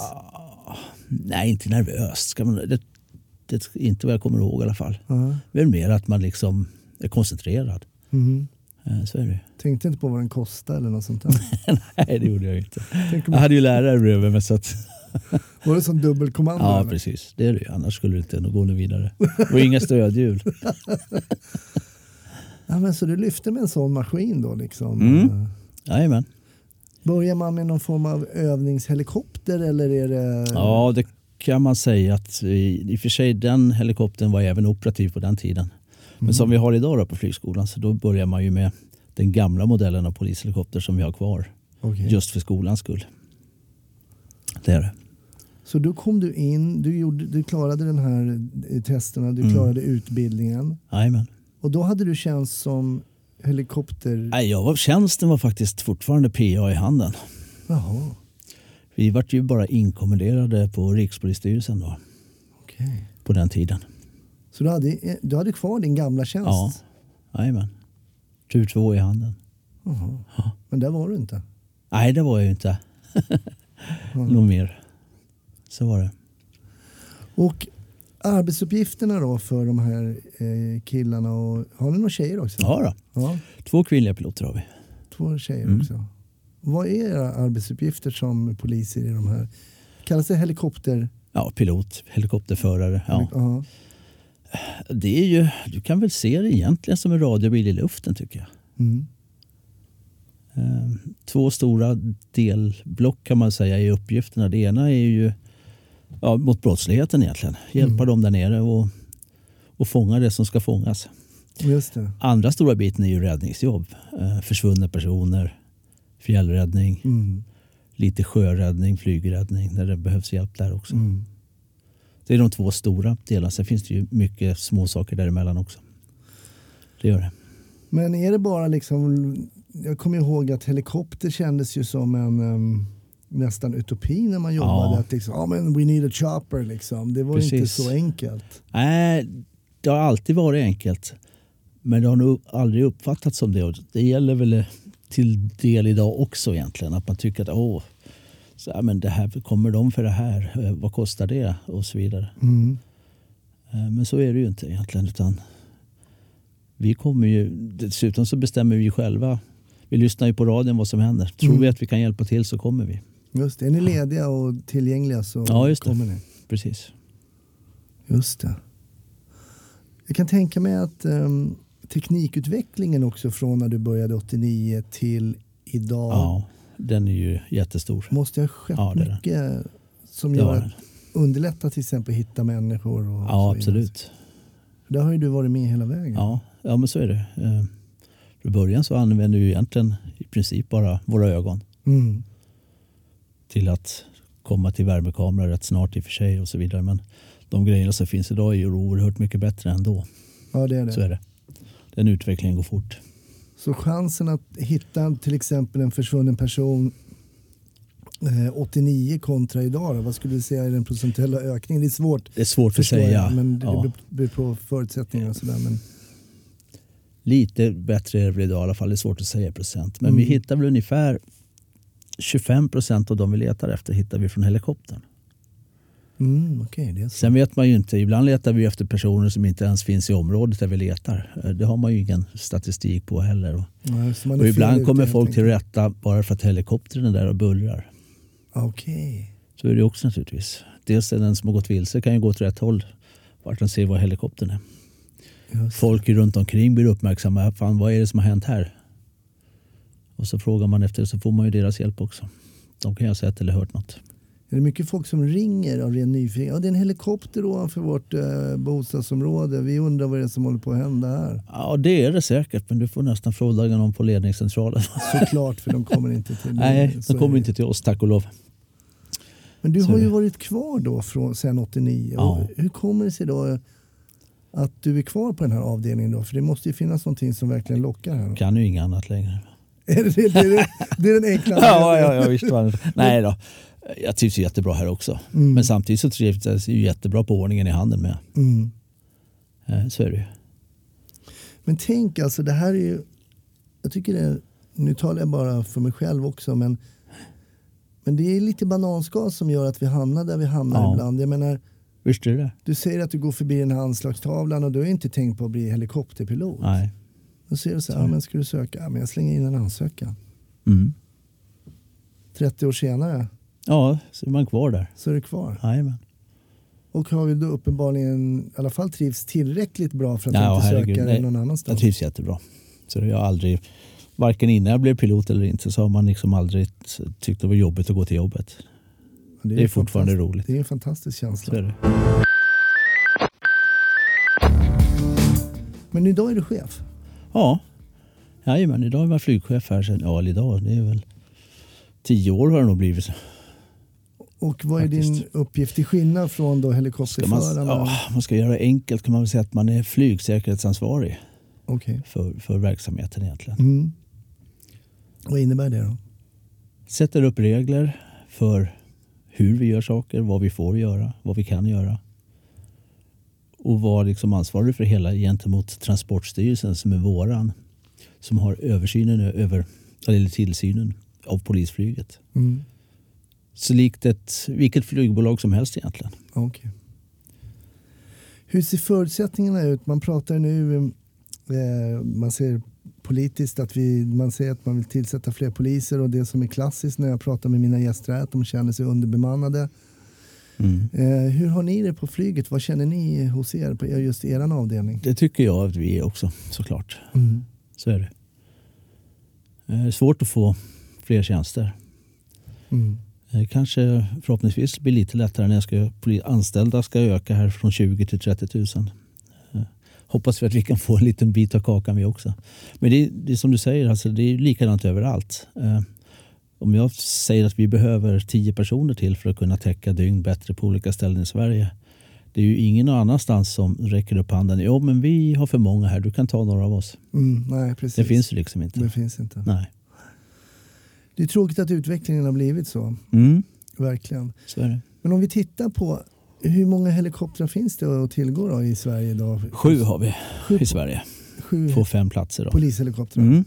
Speaker 3: Nej, inte nervöst. Ska man, det, det är inte vad jag kommer ihåg i alla fall.
Speaker 1: Ja.
Speaker 3: väl mer att man liksom är koncentrerad.
Speaker 1: Mhm.
Speaker 3: Eh, Så är det ju.
Speaker 1: Tänkte inte på vad den kostade eller något sånt där.
Speaker 3: Nej, det gjorde jag ju inte.
Speaker 1: Tänk om-
Speaker 3: Jag hade ju lärare bredvid mig. Så att,
Speaker 1: Var det som dubbelkommando?
Speaker 3: ja,
Speaker 1: eller?
Speaker 3: precis. Det är det ju. Annars skulle det inte nog gå något vidare. Och inga stödhjul.
Speaker 1: ja, men så du lyfte med en sån maskin då liksom?
Speaker 3: Mm.
Speaker 1: Eh,
Speaker 3: Jajamän.
Speaker 1: Börjar man med någon form av övningshelikopter eller är det?
Speaker 3: Ja, det kan man säga att i, i och för sig den helikoptern var även operativ på den tiden. Men som vi har idag då på flygskolan så då börjar man ju med den gamla modellen av polishelikopter som vi har kvar.
Speaker 1: Okej.
Speaker 3: Just för skolans skull. Det är det.
Speaker 1: Så då kom du in, du, gjorde, du klarade den här eh, testerna, du
Speaker 3: Mm.
Speaker 1: klarade utbildningen.
Speaker 3: Jajamän.
Speaker 1: Och då hade du tjänst som helikopter...
Speaker 3: Nej, jag var, tjänsten var faktiskt fortfarande PA i handen.
Speaker 1: Jaha,
Speaker 3: Vi vart ju bara inkommenderade på Rikspolisstyrelsen då,
Speaker 1: okej.
Speaker 3: på den tiden.
Speaker 1: Så du hade, eh, du hade kvar din gamla tjänst?
Speaker 3: Ja, jajamän. Tur två i handen.
Speaker 1: Jaha. Men där var du inte?
Speaker 3: Nej, det var jag ju inte. Något mer. Så var det.
Speaker 1: Och arbetsuppgifterna då för de här eh, killarna och har ni några tjejer också?
Speaker 3: Ja, då.
Speaker 1: Ja,
Speaker 3: Två kvinnliga piloter har vi.
Speaker 1: två tjejer
Speaker 3: Mm.
Speaker 1: också. Vad är era arbetsuppgifter som poliser i de här? Kallas det helikopter?
Speaker 3: Ja, pilot, helikopterförare. Ja.
Speaker 1: Ja.
Speaker 3: Det är ju, du kan väl se det egentligen som en radiobil i luften tycker jag.
Speaker 1: Mm.
Speaker 3: Eh, Två stora delblock kan man säga i uppgifterna. Det ena är ju ja, mot brottsligheten egentligen. Hjälpa dem där nere och, och fånga det som ska fångas.
Speaker 1: Just det.
Speaker 3: Andra stora biten är ju räddningsjobb. Eh, Försvunna personer, fjällräddning,
Speaker 1: Mm.
Speaker 3: lite sjöräddning, flygräddning när det behövs hjälp där också.
Speaker 1: Mm.
Speaker 3: Det är de två stora delarna. Sen finns det ju mycket små saker däremellan också. Det gör det.
Speaker 1: Men är det bara liksom, jag kommer ihåg att helikopter kändes ju som en em, nästan utopi när man jobbade.
Speaker 3: Ja.
Speaker 1: Att liksom, ja men we need a chopper liksom. Det var ju inte
Speaker 3: Precis.
Speaker 1: så enkelt.
Speaker 3: Nej, det har alltid varit enkelt. Men det har nog aldrig uppfattats som det. Och det gäller väl eh, till del idag också egentligen. Att man tycker att åh, så här, men det här, kommer de för det här? Eh, Vad kostar det? Och så vidare.
Speaker 1: Mm.
Speaker 3: Eh, Men så är det ju inte egentligen. Utan vi kommer ju, dessutom så bestämmer vi själva. Vi lyssnar ju på radion vad som händer. Tror vi att vi kan hjälpa till så kommer vi.
Speaker 1: Just det, är ni lediga och tillgängliga så
Speaker 3: Ja, just det.
Speaker 1: kommer ni.
Speaker 3: Precis.
Speaker 1: Just det. Jag kan tänka mig att em, teknikutvecklingen också från när du började 89 till idag
Speaker 3: Ja, den är ju jättestor.
Speaker 1: måste ha skett
Speaker 3: Ja, det är det.
Speaker 1: mycket som
Speaker 3: Det
Speaker 1: gör
Speaker 3: var
Speaker 1: att
Speaker 3: den.
Speaker 1: underlätta till exempel att hitta människor. Och så
Speaker 3: Ja,
Speaker 1: vidare.
Speaker 3: absolut.
Speaker 1: Där har ju du varit med hela vägen.
Speaker 3: Ja, ja men så är det. Eh, Från början så använde vi ju egentligen i princip bara våra ögon
Speaker 1: Mm.
Speaker 3: till att komma till värmekamera rätt snart i och för sig och så vidare. Men de grejerna som finns idag är ju oerhört mycket bättre ändå.
Speaker 1: Ja, det är det.
Speaker 3: Så är det. Den utvecklingen går fort.
Speaker 1: Så chansen att hitta till exempel en försvunnen person eh, 89 kontra idag, då, vad skulle du säga är den procentuella ökningen? Det är svårt
Speaker 3: Det är svårt att
Speaker 1: förstår
Speaker 3: säga.
Speaker 1: jag, men det
Speaker 3: ja.
Speaker 1: beror- beror på förutsättningar och sådär. Men,
Speaker 3: Lite bättre är det väl idag i alla fall. Det är svårt att säga i procent. Men
Speaker 1: Mm.
Speaker 3: vi hittar väl ungefär 25 procent av de vi letar efter hittar vi från helikoptern.
Speaker 1: mm, okej, det är så.
Speaker 3: Sen vet man ju inte. Ibland letar vi efter personer som inte ens finns i området där vi letar. Eh, Det har man ju ingen statistik på heller. Och-
Speaker 1: Ja, så man är
Speaker 3: Och
Speaker 1: fel
Speaker 3: ibland
Speaker 1: ute,
Speaker 3: kommer
Speaker 1: helt
Speaker 3: folk till
Speaker 1: enkelt.
Speaker 3: rätta bara för att helikoptern är där och bullrar.
Speaker 1: Okej.
Speaker 3: Så är det också naturligtvis. Dels är den som har gått vilse kan ju gå åt rätt håll. Vart den ser var helikoptern är.
Speaker 1: Just.
Speaker 3: Folk runt omkring blir uppmärksamma. Fan, vad är det som har hänt här? Och så frågar man efter det så får man ju deras hjälp också. De kan ju ha sett eller hört något.
Speaker 1: Är det mycket folk som ringer av ren nyfikenhet? Ja, det är en helikopter ovanför vårt eh, bostadsområde. Vi undrar vad det är som håller på att hända här.
Speaker 3: Ja, det är det säkert. Men du får nästan fråga någon på ledningscentralen.
Speaker 1: Såklart, för de kommer inte till
Speaker 3: Nej,
Speaker 1: så
Speaker 3: de
Speaker 1: är
Speaker 3: kommer
Speaker 1: det.
Speaker 3: inte till oss tack och lov.
Speaker 1: Men du
Speaker 3: Så
Speaker 1: har
Speaker 3: är
Speaker 1: ju
Speaker 3: det.
Speaker 1: varit kvar då från, sen 89.
Speaker 3: Ja.
Speaker 1: Och hur kommer det sig då att du är kvar på den här avdelningen då? För det måste ju finnas någonting som verkligen lockar här. Då.
Speaker 3: Kan ju inget annat längre.
Speaker 1: Är det, det, är, det är den enkla
Speaker 3: ja, ja, ja, visst. var det. Mm. Nej då. Jag trivs ju jättebra här också. Men samtidigt så trivs jag ju jättebra på ordningen i handen med.
Speaker 1: Mm.
Speaker 3: Eh, Så är det ju.
Speaker 1: Men tänk alltså, det här är ju... Jag tycker det är, nu talar jag bara för mig själv också, men, men det är lite bananskal som gör att vi hamnar där vi hamnar
Speaker 3: Ja.
Speaker 1: ibland. Jag menar,
Speaker 3: Visst är det det?
Speaker 1: du säger att du går förbi den här anslagstavlan och du har inte tänkt på att bli helikopterpilot.
Speaker 3: Nej.
Speaker 1: Då ser du så här, ja, men ska du söka? Ja, men jag slänger in en ansökan.
Speaker 3: Mm.
Speaker 1: 30 år senare
Speaker 3: Ja, så är man kvar där.
Speaker 1: så är du kvar.
Speaker 3: Jajamän.
Speaker 1: Och har ju då uppenbarligen i alla fall trivs tillräckligt bra för att
Speaker 3: Ja,
Speaker 1: inte
Speaker 3: herregud,
Speaker 1: söka dig
Speaker 3: nej.
Speaker 1: någon
Speaker 3: Jag
Speaker 1: annanstans.
Speaker 3: trivs jättebra. Så jag har aldrig, varken innan jag blev pilot eller inte, så har man liksom aldrig t- tyckt det var jobbigt att gå till jobbet. Det är
Speaker 1: ju
Speaker 3: fortfarande
Speaker 1: fantast-
Speaker 3: roligt.
Speaker 1: Det är en fantastisk känsla.
Speaker 3: Så är det.
Speaker 1: Men idag är du chef.
Speaker 3: Ja. Jajamän, idag är jag flygchef här sedan, ja eller idag, det är väl tio år har det nog blivit.
Speaker 1: Och vad är din
Speaker 3: Faktiskt.
Speaker 1: uppgift till skillnad från då
Speaker 3: Ska man,
Speaker 1: helikopterföraren?
Speaker 3: ja, man ska göra det enkelt kan man väl säga att man är flygsäkerhetsansvarig
Speaker 1: Okej.
Speaker 3: för, för verksamheten egentligen.
Speaker 1: Mm. Vad innebär det då?
Speaker 3: Sätter upp regler för hur vi gör saker, vad vi får göra, vad vi kan göra. Och var liksom ansvarig för hela gentemot Transportstyrelsen som är våran. Som har översynen över, eller tillsynen av polisflyget.
Speaker 1: Mm.
Speaker 3: Så likt ett, vilket flygbolag som helst egentligen.
Speaker 1: Okej. Hur ser förutsättningarna ut? Man pratar nu, eh, man ser politiskt att vi, man säger att man vill tillsätta fler poliser och det som är klassiskt när jag pratar med mina gäster är att de känner sig underbemannade. Eh, hur har ni det på flyget? Vad känner ni hos er på just er avdelning?
Speaker 3: Det tycker jag att vi är också såklart.
Speaker 1: Mm.
Speaker 3: Så är det. Eh, Det är svårt att få fler tjänster.
Speaker 1: Mm.
Speaker 3: Eh, Kanske förhoppningsvis blir lite lättare när jag ska, poli- anställda ska öka här från 20 till 30 000. Eh, Hoppas vi att vi kan få en liten bit av kakan vi också. Men det, är- det är som du säger, alltså, det är likadant överallt. Eh, Om jag säger att vi behöver 10 personer till för att kunna täcka dygn bättre på olika ställen i Sverige. Det är ju ingen annanstans som räcker upp handen. Jo, men vi har för många här. Du kan ta några av oss.
Speaker 1: Mm. Nej, precis.
Speaker 3: Det finns ju liksom inte.
Speaker 1: Det finns inte.
Speaker 3: Nej.
Speaker 1: Det är tråkigt att utvecklingen har blivit så,
Speaker 3: Mm,
Speaker 1: verkligen.
Speaker 3: så är det.
Speaker 1: Men om vi tittar på hur många helikoptrar finns det att tillgå då i Sverige idag?
Speaker 3: Sju har vi
Speaker 1: Sju,
Speaker 3: i Sverige
Speaker 1: sju
Speaker 3: på fem platser. Då.
Speaker 1: polishelikoptrar.
Speaker 3: Mm.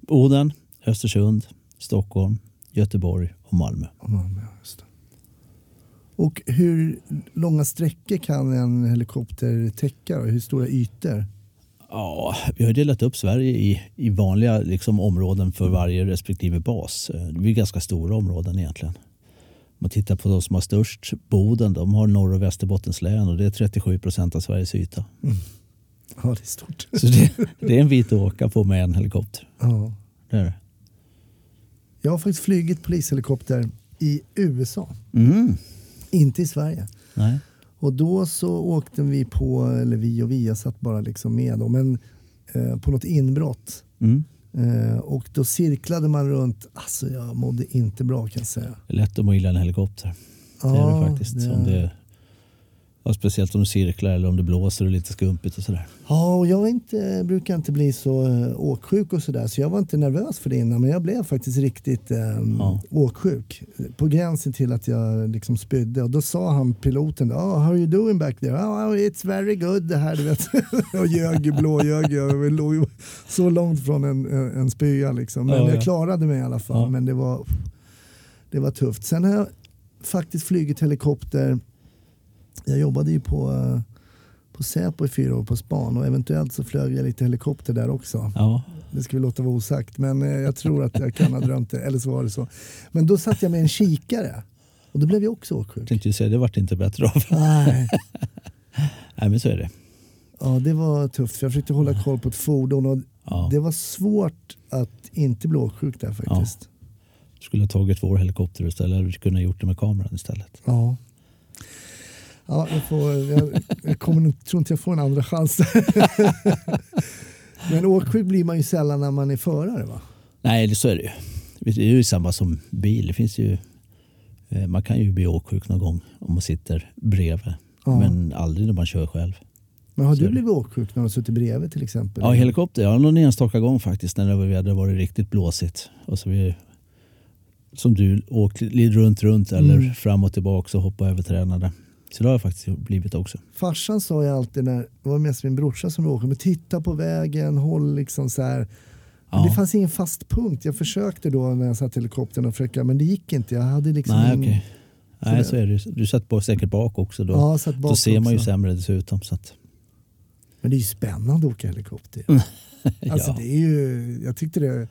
Speaker 3: Boden, Östersund, Stockholm, Göteborg och Malmö.
Speaker 1: Om Malmö, ja, just det. Och hur långa sträckor kan en helikopter täcka? Då? Hur stora ytor?
Speaker 3: Ja, vi har delat upp Sverige i, i vanliga liksom, områden för varje respektive bas. Eh, Det är ganska stora områden egentligen. Om man tittar på de som har störst, Boden, de har norr och Västerbottens län och det är 37 procent av Sveriges yta.
Speaker 1: Ja, det är stort.
Speaker 3: Så det, det är en bit att åka på med en helikopter.
Speaker 1: Ja.
Speaker 3: Det är det.
Speaker 1: Jag har faktiskt flugit polishelikopter i USA,
Speaker 3: Mm.
Speaker 1: inte i Sverige.
Speaker 3: Nej.
Speaker 1: Och då så åkte vi på, eller vi och vi, jag satt bara liksom med dem, men eh, på något inbrott.
Speaker 3: Mm.
Speaker 1: Eh, och då cirklade man runt, alltså jag mådde inte bra kan jag säga.
Speaker 3: Det är lätt att må illa i en helikopter. Det är det faktiskt. Om det, ja, speciellt om det cirklar eller om det blåser och är lite skumpigt och sådär.
Speaker 1: Ja, och jag är inte, brukar inte bli så eh, åksjuk och sådär så jag var inte nervös för det innan men jag blev faktiskt riktigt eh,
Speaker 3: Ja.
Speaker 1: åksjuk. eh, På gränsen till att jag liksom spydde och då sa han piloten oh, “How are you doing back there?” oh, “It's very good” det här du vet. och ljög, blåljög. Jag låg ju så långt från en, en, en spya liksom. Men
Speaker 3: Ja,
Speaker 1: jag
Speaker 3: ja.
Speaker 1: klarade mig i alla fall.
Speaker 3: Ja.
Speaker 1: Men det var, det var tufft. Sen har jag faktiskt flugit helikopter. Jag jobbade ju på eh, på Säpo i fyra år på span och eventuellt så flög jag lite helikopter där också.
Speaker 3: Ja.
Speaker 1: Det ska vi låta vara osagt men eh, jag tror att jag kan ha drömt det eller så var det så. Men då satt jag med en kikare och då blev jag också
Speaker 3: Jag
Speaker 1: åksjuk.
Speaker 3: tänkte ju säga, det vart inte bättre av.
Speaker 1: Nej.
Speaker 3: Nej men så är det.
Speaker 1: Ja, det var tufft för jag försökte hålla koll på ett fordon och
Speaker 3: Ja.
Speaker 1: det var svårt att inte bli åksjuk där faktiskt.
Speaker 3: Skulle ha tagit vår helikopter istället eller kunde ha gjort det med kameran istället.
Speaker 1: Ja. Ja, jag, får, jag, jag kommer, nog- tror inte jag får en andra chans. Men åksjuk blir man ju sällan när man är förare va?
Speaker 3: Nej, det, så är det ju. Det är ju samma som bil. Det finns ju, eh, man kan ju bli åksjuk någon gång om man sitter bredvid.
Speaker 1: Ja.
Speaker 3: Men aldrig när man kör själv.
Speaker 1: Men har
Speaker 3: Så är
Speaker 1: du
Speaker 3: det.
Speaker 1: blivit åksjuk när du har suttit bredvid till exempel?
Speaker 3: Ja, i helikopter. Ja, någon enstaka gång faktiskt när det hade varit riktigt blåsigt. Och så vi, som du åkte lite runt, runt eller
Speaker 1: Mm.
Speaker 3: fram och tillbaka och hoppade över tränade. Så det har jag faktiskt blivit också.
Speaker 1: Farsan sa ju alltid när, det var mest min brorsa som åkte, men titta på vägen, håll liksom så här. Men
Speaker 3: Ja.
Speaker 1: Det fanns ingen fast punkt. Jag försökte då när jag satt i helikoptern och försöka, men det gick inte. Jag hade liksom
Speaker 3: Nej,
Speaker 1: en-
Speaker 3: okej.
Speaker 1: det-
Speaker 3: Nej, så är det ju. Du satt på, säkert bak också då.
Speaker 1: Ja, satt bak
Speaker 3: då ser man ju
Speaker 1: också.
Speaker 3: sämre dessutom. Så att,
Speaker 1: Men det är ju spännande att åka helikopter. Alltså
Speaker 3: ja.
Speaker 1: det är ju, jag tyckte det.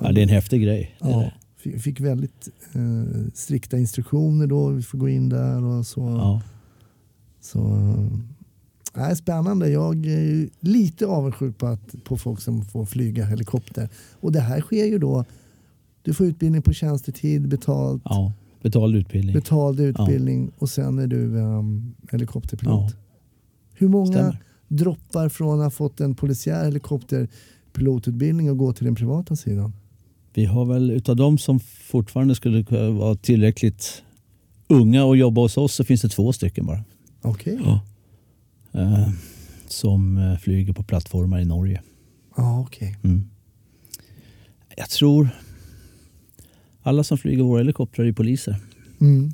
Speaker 3: ja, det är en häftig grej. Det är
Speaker 1: Ja,
Speaker 3: det.
Speaker 1: fick, fick väldigt eh, strikta instruktioner då, vi får gå in där och så.
Speaker 3: Ja.
Speaker 1: Så, eh, nej, spännande. Jag är ju lite avundsjuk på, att, på folk som får flyga helikopter. Och det här sker ju då. Du får utbildning på tjänstetid, betalt.
Speaker 3: Ja. Betald utbildning.
Speaker 1: Betald utbildning och sen är du um, helikopterpilot.
Speaker 3: Ja.
Speaker 1: Hur många
Speaker 3: Stämmer.
Speaker 1: droppar från att ha fått en polisiär helikopterpilotutbildning och gå till den privata sidan?
Speaker 3: Vi har väl utav de som fortfarande skulle kunna vara tillräckligt unga och jobba hos oss så finns det två stycken bara.
Speaker 1: Okej.
Speaker 3: Eh, som eh, flyger på plattformar i Norge.
Speaker 1: Ja, okej.
Speaker 3: Mm. Jag tror alla som flyger våra helikoptrar är poliser.
Speaker 1: Mm.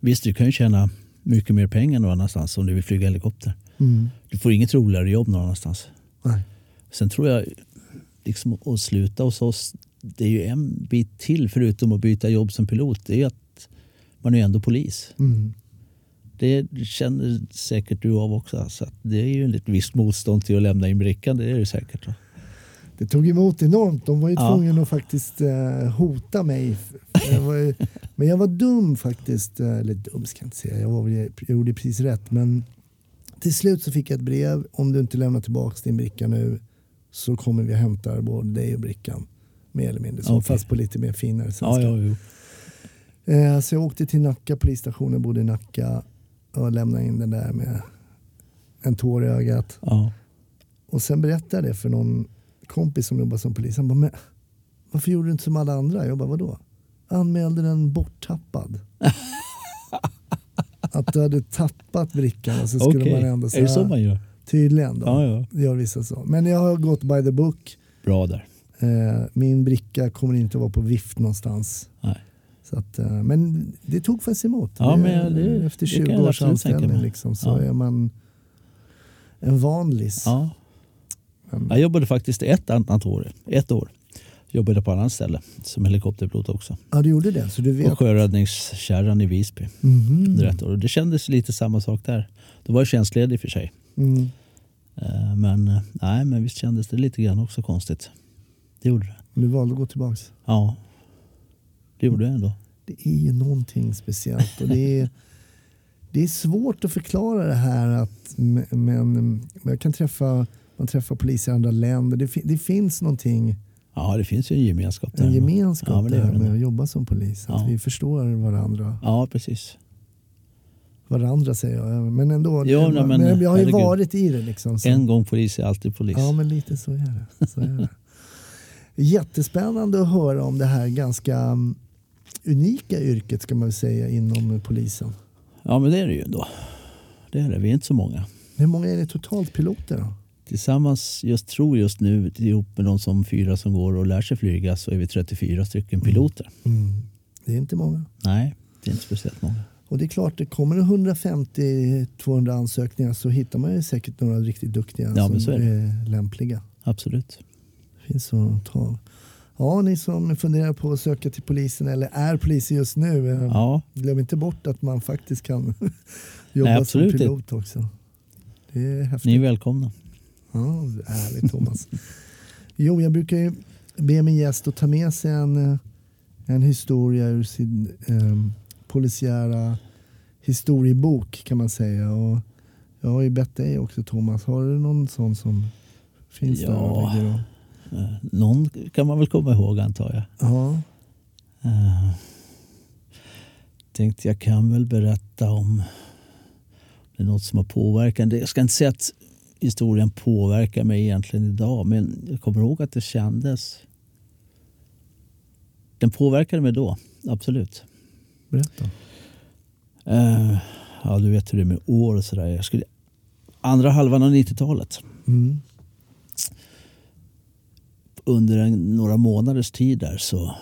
Speaker 3: Visst, du kan ju tjäna mycket mer pengar någon annanstans om du vill flyga helikopter.
Speaker 1: Mm.
Speaker 3: Du får inget roligare jobb någon annanstans.
Speaker 1: Nej.
Speaker 3: Sen tror jag liksom att sluta hos oss, det är ju en bit till förutom att byta jobb som pilot. Det är ju att man är ändå polis.
Speaker 1: Mm.
Speaker 3: Det känner säkert du av också. Så att det är ju ett visst motstånd till att lämna in brickan, det är det säkert. va?
Speaker 1: Det tog emot enormt. De var ju
Speaker 3: Ja.
Speaker 1: tvungna att faktiskt eh, hota mig. Jag var ju, men jag var dum faktiskt. Eh, Eller dum ska jag inte säga. Jag, var, väl- jag gjorde precis rätt. Men till slut så fick jag ett brev. Om du inte lämnar tillbaka din bricka nu så kommer vi och hämtar både dig och brickan. Mer eller mindre så.
Speaker 3: Okej.
Speaker 1: Fast på lite mer finare svenska.
Speaker 3: Ja, ja, jo.
Speaker 1: Eh, så jag åkte till Nacka polisstation. Jag bodde i Nacka. Och lämnade in den där med en tår i ögat.
Speaker 3: Ja.
Speaker 1: Och sen berättade jag det för någon kompis som jobbar som polis. Han bara, men varför gjorde du inte som alla andra? Jag bara, vadå? Anmälde den borttappad. att du hade tappat brickan och så skulle
Speaker 3: Okej,
Speaker 1: man ändå
Speaker 3: är
Speaker 1: säga.
Speaker 3: det så man gör?
Speaker 1: Tydligen då.
Speaker 3: Ja, ja.
Speaker 1: Det gör vissa så. Men jag har gått by the book.
Speaker 3: Bra där.
Speaker 1: Eh, min bricka kommer inte vara på vift någonstans.
Speaker 3: Nej.
Speaker 1: Så att, eh, men det tog faktiskt emot.
Speaker 3: Ja,
Speaker 1: Det-
Speaker 3: men det-
Speaker 1: efter
Speaker 3: det
Speaker 1: 20
Speaker 3: kan jag
Speaker 1: års
Speaker 3: absolut tänka
Speaker 1: anställning
Speaker 3: mig.
Speaker 1: liksom, så
Speaker 3: Ja.
Speaker 1: är man en vanlis.
Speaker 3: Ja.
Speaker 1: Men-
Speaker 3: Jag jobbade faktiskt ett annat år. Ett år. Jobbade på annat ställe som helikopterpilot också.
Speaker 1: ja, du gjorde det. Så du vet.
Speaker 3: Och sjöräddningskärran i Visby.
Speaker 1: Mhm.
Speaker 3: under ett år. Och det kändes lite samma sak där. Då var jag tjänstledig i och för sig.
Speaker 1: Mm.
Speaker 3: Eh, Men eh, nej, men visst kändes det lite grann också konstigt. Det gjorde det.
Speaker 1: Du valde att gå tillbaks.
Speaker 3: Ja, det gjorde jag ändå.
Speaker 1: Det är ju någonting speciellt och det är, det är svårt att förklara det här att men, men jag kan träffa man träffar poliser i andra länder. Det, fi- det finns någonting,
Speaker 3: Ja, det finns ju en gemenskap där.
Speaker 1: en gemenskap
Speaker 3: Ja, men det
Speaker 1: det här
Speaker 3: gör det.
Speaker 1: med att jobba som polis. Att
Speaker 3: Ja.
Speaker 1: vi förstår varandra.
Speaker 3: Ja, precis.
Speaker 1: Varandra säger jag, men ändå.
Speaker 3: Jo, nej, men-
Speaker 1: jag har ju
Speaker 3: herregud.
Speaker 1: varit i det liksom. så-
Speaker 3: En gång polis är alltid polis.
Speaker 1: Ja, men lite så är det. Så är det. Jättespännande att höra om det här ganska mm, unika yrket ska man väl säga inom polisen.
Speaker 3: Ja, men det är det ju ändå. Det är det. Vi är inte så många.
Speaker 1: Hur många är det totalt piloter då?
Speaker 3: Tillsammans, jag tror just nu, ihop med de som fyra som går och lär sig flyga så är vi 34 stycken
Speaker 1: Mm.
Speaker 3: piloter.
Speaker 1: Det är inte många.
Speaker 3: Nej, det är inte speciellt många.
Speaker 1: Och det är klart, det kommer det 150-200 ansökningar så hittar man ju säkert några riktigt duktiga
Speaker 3: Ja, men så
Speaker 1: som
Speaker 3: är
Speaker 1: är,
Speaker 3: det.
Speaker 1: lämpliga.
Speaker 3: Absolut.
Speaker 1: Det finns så att ta. Ja, ni som funderar på att söka till polisen eller är poliser just nu. eh,
Speaker 3: Ja,
Speaker 1: Glöm inte bort att man faktiskt kan jobba
Speaker 3: Nej, absolut
Speaker 1: som pilot också. Det är häftigt.
Speaker 3: ni är välkomna.
Speaker 1: Ja, ärligt Thomas. Jo, jag brukar ju be min gäst att ta med sig en, eh, en historia ur sin eh, polisiära historiebok kan man säga. Och jag har ju bett dig också Thomas, har du någon sån som finns där?
Speaker 3: Ja.
Speaker 1: och ligger och-
Speaker 3: Eh, Någon kan man väl komma ihåg antar jag.
Speaker 1: Ja.
Speaker 3: Eh, Tänkte jag kan väl berätta om det är något som har påverkat. Det- Jag ska inte säga att historien påverkar mig egentligen idag men jag kommer ihåg att det kändes. Den påverkade mig då, absolut.
Speaker 1: Berätta.
Speaker 3: Eh, Ja, du vet hur det är med år och sådär. Jag skulle, andra halvan av 90-talet
Speaker 1: Mm.
Speaker 3: under en, några månaders tid där så,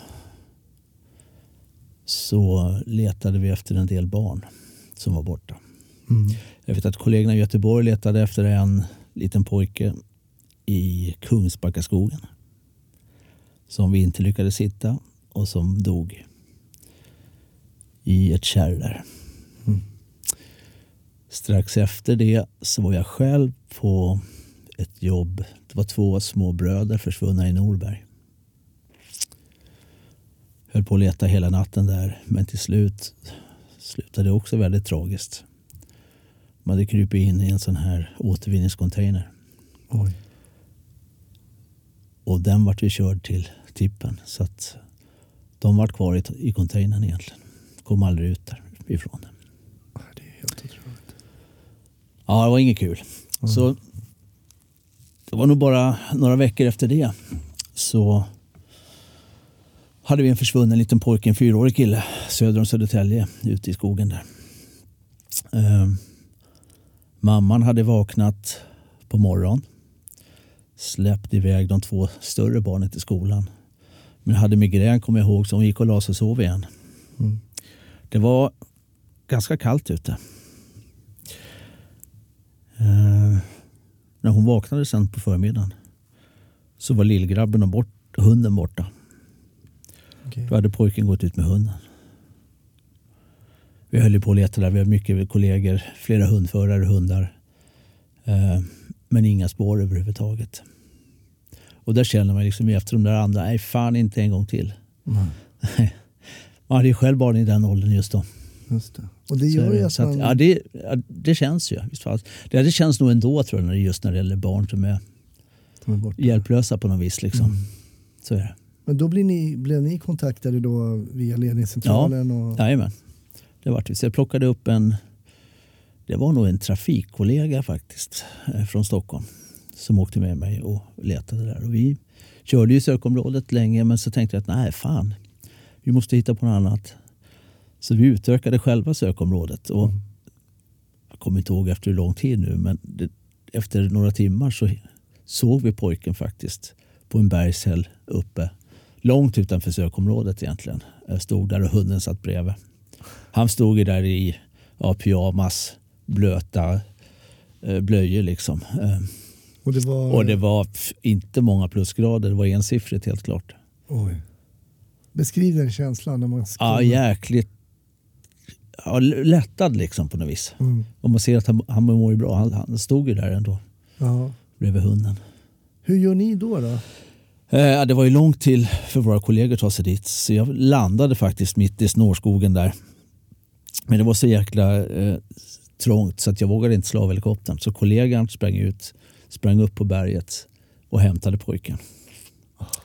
Speaker 3: så letade vi efter en del barn som var borta.
Speaker 1: Mm.
Speaker 3: Jag vet att kollegorna i Göteborg letade efter en liten pojke i Kungsbackaskogen. Som vi inte lyckades hitta och som dog i ett kärr där.
Speaker 1: Mm.
Speaker 3: Strax efter det så var jag själv på ett jobb. Det var två små bröder försvunna i Norberg. Höll på att leta hela natten där men till slut slutade det också väldigt tragiskt. Man hade krupit in i en sån här återvinningscontainer.
Speaker 1: Oj.
Speaker 3: Och den vart ju körd till tippen. Så att de vart kvar i, i containern egentligen. kom aldrig ut därifrån.
Speaker 1: Det är helt otroligt.
Speaker 3: Ja, det var inget kul. Så det var nog bara några veckor efter det så hade vi en försvunnen liten pojke, en fyraårig kille söder om Södertälje ute i skogen där. Ehm, mamman hade vaknat på morgonen. Släppt iväg de två större barnen till skolan. Men hade migrän kommer jag ihåg så hon gick och la sig och sov igen.
Speaker 1: Mm.
Speaker 3: Det var ganska kallt ute. Eh, när hon vaknade sen på förmiddagen så var lillgrabben och bort, hunden borta.
Speaker 1: Okej.
Speaker 3: Då hade pojken gått ut med hunden. Vi höll ju på att leta där. Vi har mycket kollegor, flera hundförare och hundar. Eh, men inga spår överhuvudtaget. Och där känner man liksom efter de där andra, nej fan inte en gång till.
Speaker 1: Nej,
Speaker 3: Man hade ju själv barn i den åldern just då.
Speaker 1: Just det. Och det
Speaker 3: Så
Speaker 1: gör
Speaker 3: är
Speaker 1: ju
Speaker 3: det.
Speaker 1: att
Speaker 3: Så att,
Speaker 1: man...
Speaker 3: ja, det, ja, det känns ju. Visst fan. Det, det känns nog ändå tror jag, när det- just när det gäller barn som är
Speaker 1: de är borta.
Speaker 3: hjälplösa på något vis.
Speaker 1: Mm.
Speaker 3: Liksom. Så är det.
Speaker 1: Men då blir ni, blev ni kontaktade då via ledningscentralen? Och,
Speaker 3: Jajamän. Det vart vi. Så jag plockade upp en, det var nog en trafikkollega faktiskt eh, från Stockholm som åkte med mig och letade där. Och vi körde ju sökområdet länge men så tänkte jag att nej fan, vi måste hitta på något annat. Så vi utökade själva sökområdet
Speaker 1: Mm.
Speaker 3: och jag kommer inte ihåg efter hur lång tid nu men det, efter några timmar så såg vi pojken faktiskt på en bergshäll uppe. Långt utanför sökområdet egentligen. Jag stod där och hunden satt bredvid. Han stod ju där i ja, pyjamas, blöta eh, blöjor liksom. Eh,
Speaker 1: och det var...
Speaker 3: och det var f- inte många plusgrader, det var ensiffrigt helt klart.
Speaker 1: Oj. Beskriv den känslan när man ska...
Speaker 3: Ja, jäkligt ja, l- lättad liksom på något vis.
Speaker 1: Mm.
Speaker 3: Och man ser att han, han mår ju bra, han, han stod ju där ändå
Speaker 1: Ja.
Speaker 3: bredvid hunden.
Speaker 1: Hur gör ni då? då?
Speaker 3: Eh, ja, det var ju långt till för våra kollegor att ta sig dit så jag landade faktiskt mitt i snårskogen där. Men det var så jäkla eh, trångt så att jag vågade inte slå av helikoptern. Så kollegan sprang ut, sprang upp på berget och hämtade pojken.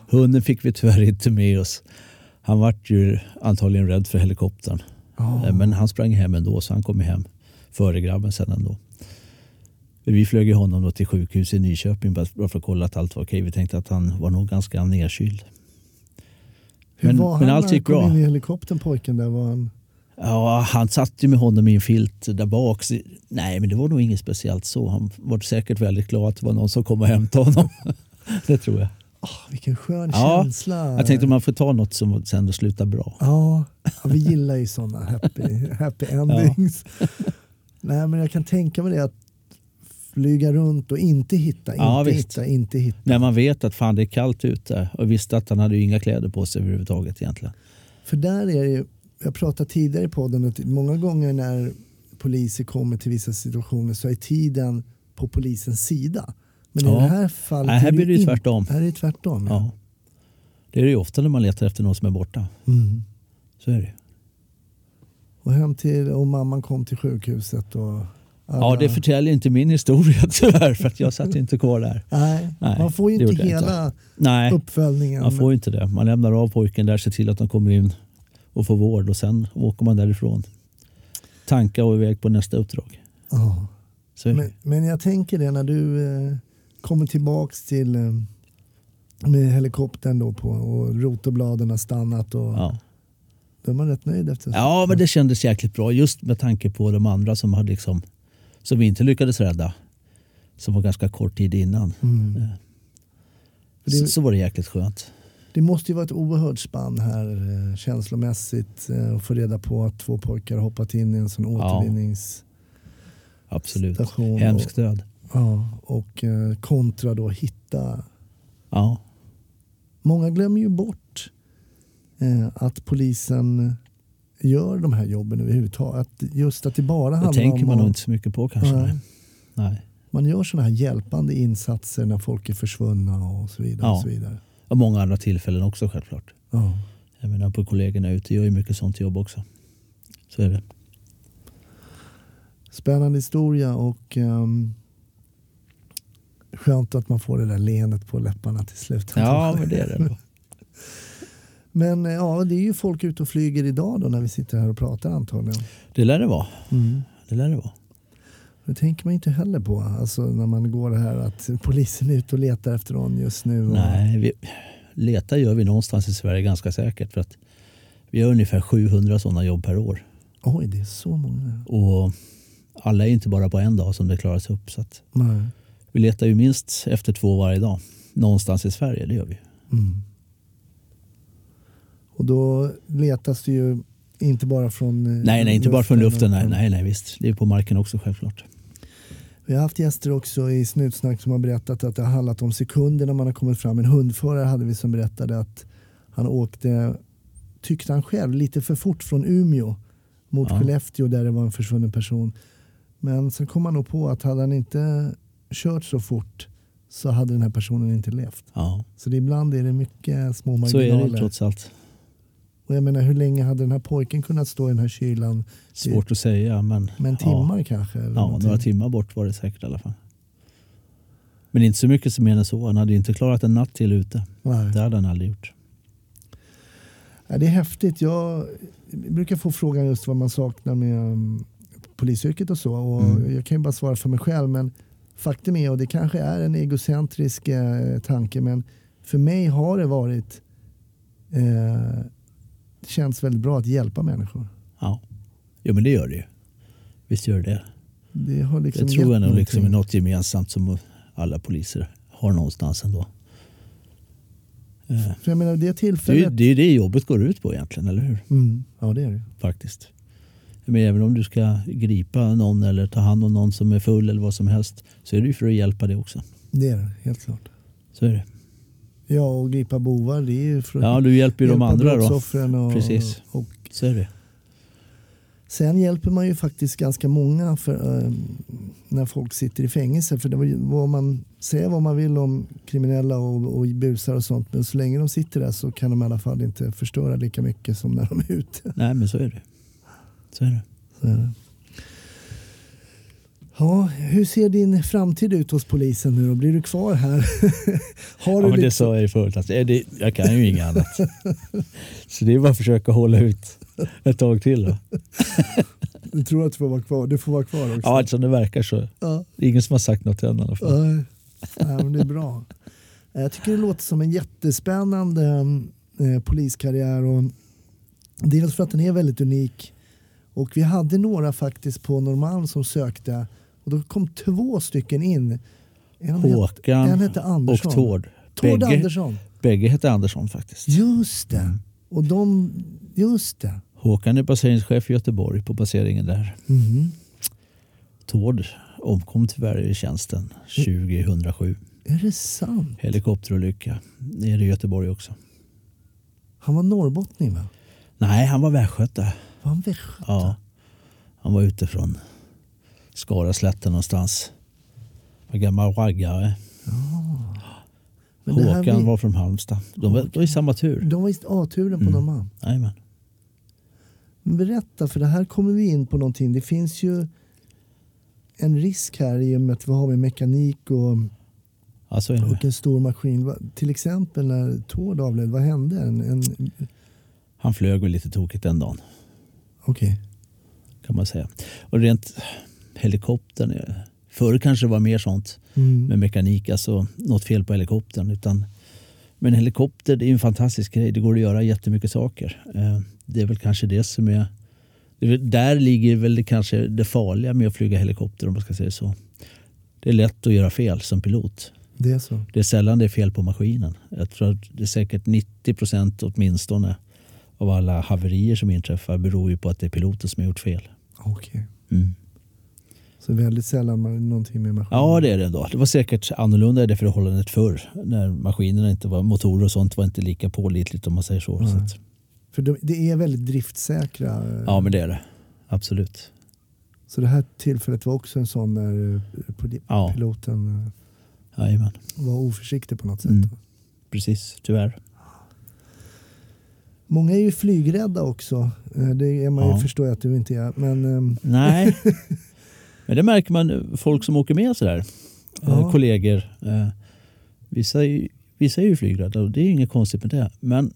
Speaker 3: Hunden fick vi tyvärr inte med oss. Han vart ju antagligen rädd för helikoptern.
Speaker 1: Ja.
Speaker 3: Eh, Men han sprang hem ändå så han kom ju hem före grabben sen ändå. Vi flög ju honom då till sjukhus i Nyköping bara bara för att kolla att allt var okej. Vi tänkte att han var nog ganska nedkyld.
Speaker 1: Hur
Speaker 3: men-
Speaker 1: var han
Speaker 3: men allt
Speaker 1: när han
Speaker 3: gick
Speaker 1: kom
Speaker 3: bra.
Speaker 1: in i helikoptern pojken? Där var han...
Speaker 3: Ja, han satt ju med honom i en filt där bak. Så- Nej, men det var nog inget speciellt så. Han var säkert väldigt glad att det var någon som kom och hämtade honom. det tror jag.
Speaker 1: Ah, vilken skön
Speaker 3: Ja,
Speaker 1: känsla.
Speaker 3: Jag tänkte om man får ta något som sen slutar bra.
Speaker 1: Ja, ja, vi gillar ju sådana happy, happy endings. Nej, men jag kan tänka mig det att flyga runt och inte hitta, inte
Speaker 3: Ja, visst.
Speaker 1: hitta, inte hitta.
Speaker 3: När man vet att fan det är kallt ute och visste att han hade ju inga kläder på sig överhuvudtaget egentligen.
Speaker 1: För där är det ju, jag pratade tidigare i podden att många gånger när poliser kommer till vissa situationer så är tiden på polisens sida. Men i
Speaker 3: Ja.
Speaker 1: det här fallet
Speaker 3: Nej, här blir det ju
Speaker 1: in-
Speaker 3: tvärtom.
Speaker 1: Här är det tvärtom.
Speaker 3: Ja. Det är det ju ofta när man letar efter någon som är borta.
Speaker 1: Mm.
Speaker 3: Så är det ju.
Speaker 1: Och hem till, och mamman kom till sjukhuset och
Speaker 3: Ja,
Speaker 1: alla-
Speaker 3: det förtäljer inte min historia tyvärr för att jag satt inte kvar där.
Speaker 1: Nej,
Speaker 3: Nej,
Speaker 1: man får ju
Speaker 3: det
Speaker 1: inte
Speaker 3: gjorde jag inte.
Speaker 1: hela
Speaker 3: Nej,
Speaker 1: uppföljningen.
Speaker 3: man får ju inte det. Man lämnar av pojken där, ser till att de kommer in och får vård och sen åker man därifrån. Tanka och iväg på nästa uppdrag.
Speaker 1: Ja.
Speaker 3: Så är det.
Speaker 1: Men, men jag tänker det när du eh, kommer tillbaks till eh, med helikoptern då på och rotorbladen har stannat och
Speaker 3: ja.
Speaker 1: då är man rätt nöjd efter
Speaker 3: ja, men det kändes jäkligt bra just med tanke på de andra som, hade liksom, som vi inte lyckades rädda. Som var ganska kort tid innan.
Speaker 1: Mm.
Speaker 3: Eh,
Speaker 1: För
Speaker 3: Så,
Speaker 1: det-
Speaker 3: så var det jäkligt skönt.
Speaker 1: Det måste ju vara ett oerhört spann här eh, känslomässigt eh, att få reda på att två pojkar har hoppat in i en sån
Speaker 3: Ja.
Speaker 1: återvinningsstation.
Speaker 3: Absolut.
Speaker 1: och-
Speaker 3: Hemskt död.
Speaker 1: Ja, och eh, kontra då hitta.
Speaker 3: Ja.
Speaker 1: Många glömmer ju bort eh, att polisen gör de här jobben överhuvudtaget. Att Just att det bara
Speaker 3: Det
Speaker 1: handlar
Speaker 3: tänker
Speaker 1: om
Speaker 3: man nog
Speaker 1: att-
Speaker 3: inte så mycket på kanske.
Speaker 1: Nej.
Speaker 3: Nej. Nej.
Speaker 1: Man gör sådana här hjälpande insatser när folk är försvunna och så vidare.
Speaker 3: Ja.
Speaker 1: Och så vidare.
Speaker 3: Och många andra tillfällen också självklart.
Speaker 1: Ja.
Speaker 3: Jag menar på kollegorna ute gör ju mycket sånt jobb också. Så är det.
Speaker 1: Spännande historia och ehm, skönt att man får det där leendet på läpparna till slut.
Speaker 3: Ja, men det är det.
Speaker 1: Men eh, ja, det är ju folk ute och flyger idag då när vi sitter här och pratar antagligen.
Speaker 3: Det lär det vara.
Speaker 1: Mm.
Speaker 3: Det lär det vara.
Speaker 1: Det tänker man inte heller på alltså, när man går här att polisen är ute och letar efter någon just nu. Och,
Speaker 3: Nej, vi, leta gör vi någonstans i Sverige ganska säkert. För att vi har ungefär 700 sådana jobb per år.
Speaker 1: Oj, det är så många.
Speaker 3: Och alla är inte bara på en dag som det klaras upp. Så att
Speaker 1: Nej.
Speaker 3: vi letar ju minst efter två varje dag. Någonstans i Sverige, det gör vi.
Speaker 1: Mm. Och då letas det ju inte bara från eh,
Speaker 3: Nej, nej, inte bara från luften. Nej,
Speaker 1: utan-
Speaker 3: nej, nej visst. Det är på marken också självklart.
Speaker 1: Vi har haft gäster också i Snutsnack som har berättat att det har handlat om sekunder när man har kommit fram. En hundförare hade vi som berättade att han åkte, tyckte han själv, lite för fort från Umeå mot
Speaker 3: Ja.
Speaker 1: Skellefteå där det var en försvunnen person. Men sen kom han nog på att hade han inte kört så fort så hade den här personen inte levt.
Speaker 3: Ja,
Speaker 1: Så det, ibland är det mycket små
Speaker 3: så
Speaker 1: marginaler.
Speaker 3: är det ju trots allt.
Speaker 1: Och jag menar hur länge hade den här pojken kunnat stå i den här kylan?
Speaker 3: Svårt att säga, men...
Speaker 1: Men
Speaker 3: ja.
Speaker 1: timmar kanske? Eller
Speaker 3: Ja,
Speaker 1: någonting?
Speaker 3: några timmar bort var det säkert i alla fall. Men inte så mycket som mer än så. Han hade ju inte klarat en natt till ute.
Speaker 1: Nej.
Speaker 3: Det hade han aldrig gjort.
Speaker 1: Ja, det är häftigt. Jag brukar få frågan just vad man saknar med um, polisyrket och så. Och
Speaker 3: Mm.
Speaker 1: Jag kan ju bara svara för mig själv. Men faktum är, och det kanske är en egocentrisk eh, tanke, men för mig har det varit eh, känns väldigt bra att hjälpa människor.
Speaker 3: Ja, jo, men det gör det ju. Visst gör det det.
Speaker 1: Det har liksom
Speaker 3: Det tror
Speaker 1: gett
Speaker 3: jag nog liksom är
Speaker 1: någonting.
Speaker 3: något gemensamt som alla poliser har någonstans ändå. Eh,
Speaker 1: För jag menar, det
Speaker 3: Det är ju
Speaker 1: tillfället...
Speaker 3: det, är ju det jobbet går ut på egentligen, eller hur?
Speaker 1: Mm, ja, det är det.
Speaker 3: Faktiskt. Men även om du ska gripa någon eller ta hand om någon som är full eller vad som helst så är det ju för att hjälpa det också.
Speaker 1: Det är det, helt klart.
Speaker 3: Så är det.
Speaker 1: Ja, och gripa bovar, det är ju för att
Speaker 3: Ja, du hjälper ju de
Speaker 1: hjälpa
Speaker 3: andra då.
Speaker 1: brottsoffren Och,
Speaker 3: Precis.
Speaker 1: och
Speaker 3: Så är det.
Speaker 1: Sen hjälper man ju faktiskt ganska många för, eh, när folk sitter i fängelse. För det var ju vad man säger vad man vill om kriminella och, och busar och sånt. Men så länge de sitter där så kan de i alla fall inte förstöra lika mycket som när de är ute.
Speaker 3: Nej, men så är det. Så är det.
Speaker 1: Så
Speaker 3: Mm.
Speaker 1: är det. Ja, hur ser din framtid ut hos polisen nu då? Blir du kvar här? Har du
Speaker 3: Ja, men det
Speaker 1: liksom-
Speaker 3: sa jag ju förut. Alltså, eh, det, jag kan ju inget annat. Så det är bara att försöka hålla ut ett tag till. Då.
Speaker 1: Du tror att du får vara kvar? Du får vara kvar också?
Speaker 3: Ja, som det verkar så.
Speaker 1: Ja.
Speaker 3: Det är ingen som har sagt något än i alla fall.
Speaker 1: Nej, nej, men det är bra. Eh, Jag tycker det låter som en jättespännande eh, poliskarriär. Och dels för att den är väldigt unik. Och vi hade några faktiskt på Norrmalm som sökte. Och då kom två stycken in. En, het, en
Speaker 3: Håkan
Speaker 1: hette
Speaker 3: och
Speaker 1: Andersson.
Speaker 3: Tord.
Speaker 1: Tord
Speaker 3: Bägge, Mm.
Speaker 1: Andersson. Mm.
Speaker 3: bägge hette Andersson faktiskt.
Speaker 1: Just det. Och de, just det.
Speaker 3: Håkan är passeringschef i Göteborg på passeringen där.
Speaker 1: Mhm.
Speaker 3: Tord omkom tyvärr i tjänsten
Speaker 1: Mm.
Speaker 3: 2007.
Speaker 1: Är det sant?
Speaker 3: Helikopterolycka nere i Göteborg också.
Speaker 1: Han var norrbottning va?
Speaker 3: Nej, han var västgöte.
Speaker 1: Var han västgöte?
Speaker 3: Ja. Han var ute från Skaraslätten någonstans. Var gammal raggare.
Speaker 1: Men det här
Speaker 3: Håkan
Speaker 1: vi-
Speaker 3: var Mm. från Halmstad. De var, de var i samma tur.
Speaker 1: De var i A-turen på Norrmalm.
Speaker 3: Jajamän.
Speaker 1: Men Berätta, för det här kommer vi in på någonting. Det finns ju en risk här i och med att vi har med mekanik och,
Speaker 3: Ja, så är det.
Speaker 1: och en stor maskin. Va- Till exempel när Tord avled, vad hände? En, en,
Speaker 3: Han flög väl lite tokigt den dagen.
Speaker 1: Okej.
Speaker 3: kan man säga. Och rent helikoptern. eh, Förr kanske det var mer sånt
Speaker 1: Mm.
Speaker 3: med mekanik, alltså något fel på helikoptern. Utan, men helikopter det är ju en fantastisk grej. Det går att göra jättemycket saker. Eh, Det är väl kanske det som är... det är väl- Där ligger väl det kanske det farliga med att flyga helikopter om man ska säga så. Det är lätt att göra fel som pilot.
Speaker 1: Det är så.
Speaker 3: Det är sällan det är fel på maskinen. Jag tror att det är säkert 90 procent åtminstone av alla haverier som inträffar beror ju på att det är piloten som har gjort fel.
Speaker 1: Okej.
Speaker 3: Mm.
Speaker 1: Så väldigt sällan man, någonting med maskinen.
Speaker 3: Ja, det är det ändå. Det var säkert annorlunda i det förhållandet förr. När maskinerna inte var, motorer och sånt var inte lika pålitligt om man säger så. så att,
Speaker 1: För de, det är väldigt driftsäkra. eh,
Speaker 3: ja, men det är det. Absolut.
Speaker 1: Så det här tillfället var också en sån när eh, poli-
Speaker 3: Ja.
Speaker 1: piloten eh,
Speaker 3: Jajamän,
Speaker 1: var oförsiktig på något sätt.
Speaker 3: Mm. precis. Tyvärr.
Speaker 1: Många är ju flygrädda också. Eh, Det är man
Speaker 3: Ja.
Speaker 1: ju förstår jag att du inte är. Men ehm,
Speaker 3: Nej. men det märker man eh, folk som åker med sådär.
Speaker 1: Ja.
Speaker 3: Eh, kollegor. Eh, vissa, är ju- vissa är ju flygrädda och det är ju inget konstigt med det. Men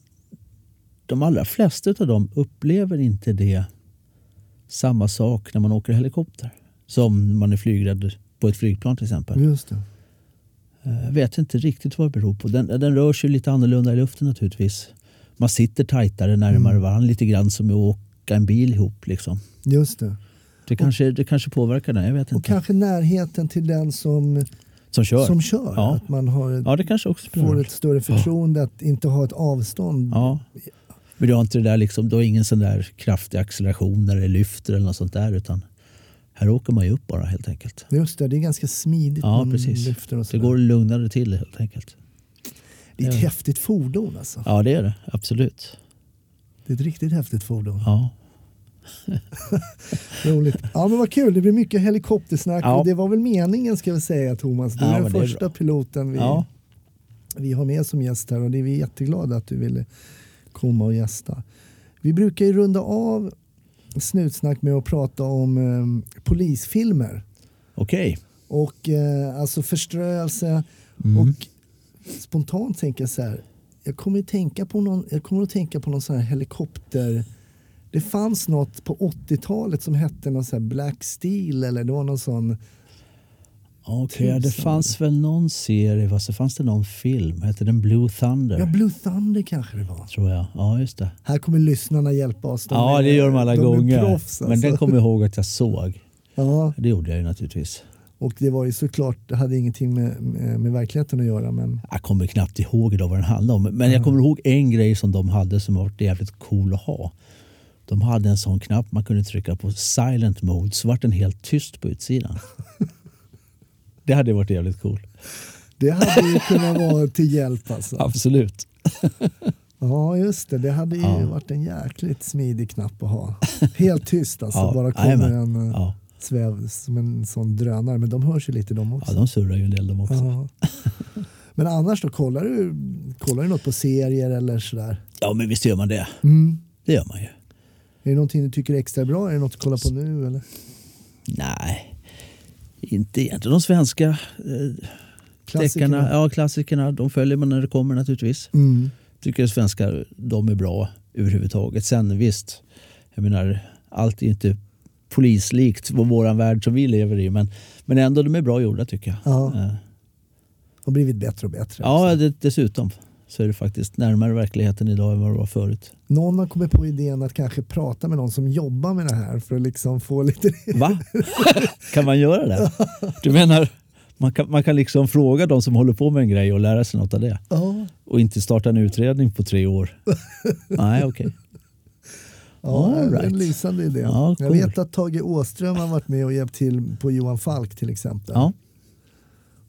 Speaker 3: de allra flesta av dem upplever inte det samma sak när man åker helikopter. Som man är flygrädd på ett flygplan till exempel.
Speaker 1: Just det. Mm.
Speaker 3: Jag vet inte riktigt vad det beror på. Den, den rör sig lite annorlunda i luften naturligtvis. Man sitter tajtare närmare
Speaker 1: Mm.
Speaker 3: varandra lite grann som att åka en bil ihop. Liksom.
Speaker 1: Just det.
Speaker 3: Det, kanske, det kanske påverkar den, jag vet
Speaker 1: Och
Speaker 3: inte.
Speaker 1: kanske närheten till den som
Speaker 3: Som kör?
Speaker 1: som kör.
Speaker 3: Ja.
Speaker 1: Att man har ett,
Speaker 3: Ja, det kanske också spelar
Speaker 1: får
Speaker 3: roll.
Speaker 1: ett större förtroende att inte ha ett avstånd.
Speaker 3: Ja. Men du har inte det där liksom, du har ingen sån där kraftig acceleration när det lyfter eller något sånt där utan här åker man ju upp bara helt enkelt.
Speaker 1: Just det, det är ganska smidigt.
Speaker 3: Ja,
Speaker 1: man
Speaker 3: precis.
Speaker 1: lyfter och
Speaker 3: Det
Speaker 1: sådär.
Speaker 3: går lugnare till helt enkelt.
Speaker 1: det är ett
Speaker 3: ja.
Speaker 1: häftigt fordon alltså.
Speaker 3: Ja, det är det. Absolut.
Speaker 1: Det är ett riktigt häftigt fordon.
Speaker 3: Ja.
Speaker 1: Roligt. Ja men vad kul, det blir mycket helikoptersnack
Speaker 3: Ja.
Speaker 1: och det var väl meningen ska vi säga Thomas. Du
Speaker 3: Ja,
Speaker 1: är den
Speaker 3: men det är
Speaker 1: första
Speaker 3: bra.
Speaker 1: piloten vi,
Speaker 3: Ja.
Speaker 1: vi har med som gäst här och det är vi jätteglada att du ville komma och gästa. Vi brukar ju runda av Snutsnack med att prata om eh, polisfilmer
Speaker 3: Okej.
Speaker 1: och eh, alltså förströelse
Speaker 3: Mm.
Speaker 1: och spontant tänker jag så här. Jag kommer, att tänka på någon, jag kommer att tänka på någon sån här helikopter. Det fanns något på 80-talet som hette någon sån här Black Steel eller det var någon sån.
Speaker 3: Okej, ja, det
Speaker 1: Tusen
Speaker 3: fanns väl någon serie, va? så fanns det någon film, hette den Blue Thunder?
Speaker 1: Ja, Blue Thunder kanske det var.
Speaker 3: Tror jag. Ja, just det.
Speaker 1: Här kommer lyssnarna hjälpa oss. De
Speaker 3: ja,
Speaker 1: är-
Speaker 3: det gör de alla
Speaker 1: de
Speaker 3: gånger.
Speaker 1: Är proffs, alltså.
Speaker 3: Men den kommer jag ihåg att jag såg.
Speaker 1: Ja,
Speaker 3: Det gjorde jag ju naturligtvis.
Speaker 1: och det var ju såklart, det hade ingenting med, med, med verkligheten att göra men
Speaker 3: Jag kommer knappt ihåg idag vad den handlade om. Men
Speaker 1: Mm.
Speaker 3: jag kommer ihåg en grej som de hade som var jävligt cool att ha. De hade en sån knapp man kunde trycka på silent mode så vart den helt tyst på utsidan. det hade varit jävligt cool.
Speaker 1: det hade ju kunnat vara till hjälp alltså.
Speaker 3: Absolut.
Speaker 1: Ja, just det. Det hade ju
Speaker 3: Ja.
Speaker 1: varit en jäkligt smidig knapp att ha. Helt tyst alltså.
Speaker 3: Ja,
Speaker 1: Bara kommer en
Speaker 3: jajamän.
Speaker 1: eh,
Speaker 3: Ja.
Speaker 1: sväv som en sån drönare. Men de hörs ju lite de
Speaker 3: ja,
Speaker 1: också.
Speaker 3: de surrar ju en del de också.
Speaker 1: Ja. Men annars då, kollar du, kollar du något på serier eller sådär?
Speaker 3: Ja, men visst gör man det.
Speaker 1: Mm.
Speaker 3: Det gör man ju.
Speaker 1: Är det någonting du tycker är extra bra? Är det något du kollar på nu eller?
Speaker 3: Nej, inte egentligen de svenska eh,
Speaker 1: Klassikerna?
Speaker 3: deckarna. Ja, klassikerna. De följer man när det kommer naturligtvis.
Speaker 1: Mm.
Speaker 3: Tycker att svenskar, de är bra överhuvudtaget. Sen visst, jag menar, allt är ju inte polislikt vad våran värld som vi lever i. Men, men ändå, de är bra gjorda tycker jag.
Speaker 1: Ja.
Speaker 3: Eh,
Speaker 1: Har blivit bättre och bättre.
Speaker 3: ja det, dessutom så är det faktiskt närmare verkligheten idag än vad det var förut.
Speaker 1: Någon har kommit på idén att kanske prata med någon som jobbar med det här för att liksom få lite...
Speaker 3: Va? kan man göra det? Du menar, man kan, man kan liksom fråga de som håller på med en grej och lära sig något av det?
Speaker 1: Ja,
Speaker 3: och inte starta en utredning på tre år. Nej, okej.
Speaker 1: ja
Speaker 3: All
Speaker 1: det är
Speaker 3: right.
Speaker 1: en lysande idé.
Speaker 3: Ja,
Speaker 1: Jag
Speaker 3: cool.
Speaker 1: vet att Tage Åström har varit med och hjälpt till på Johan Falk till exempel.
Speaker 3: Ja,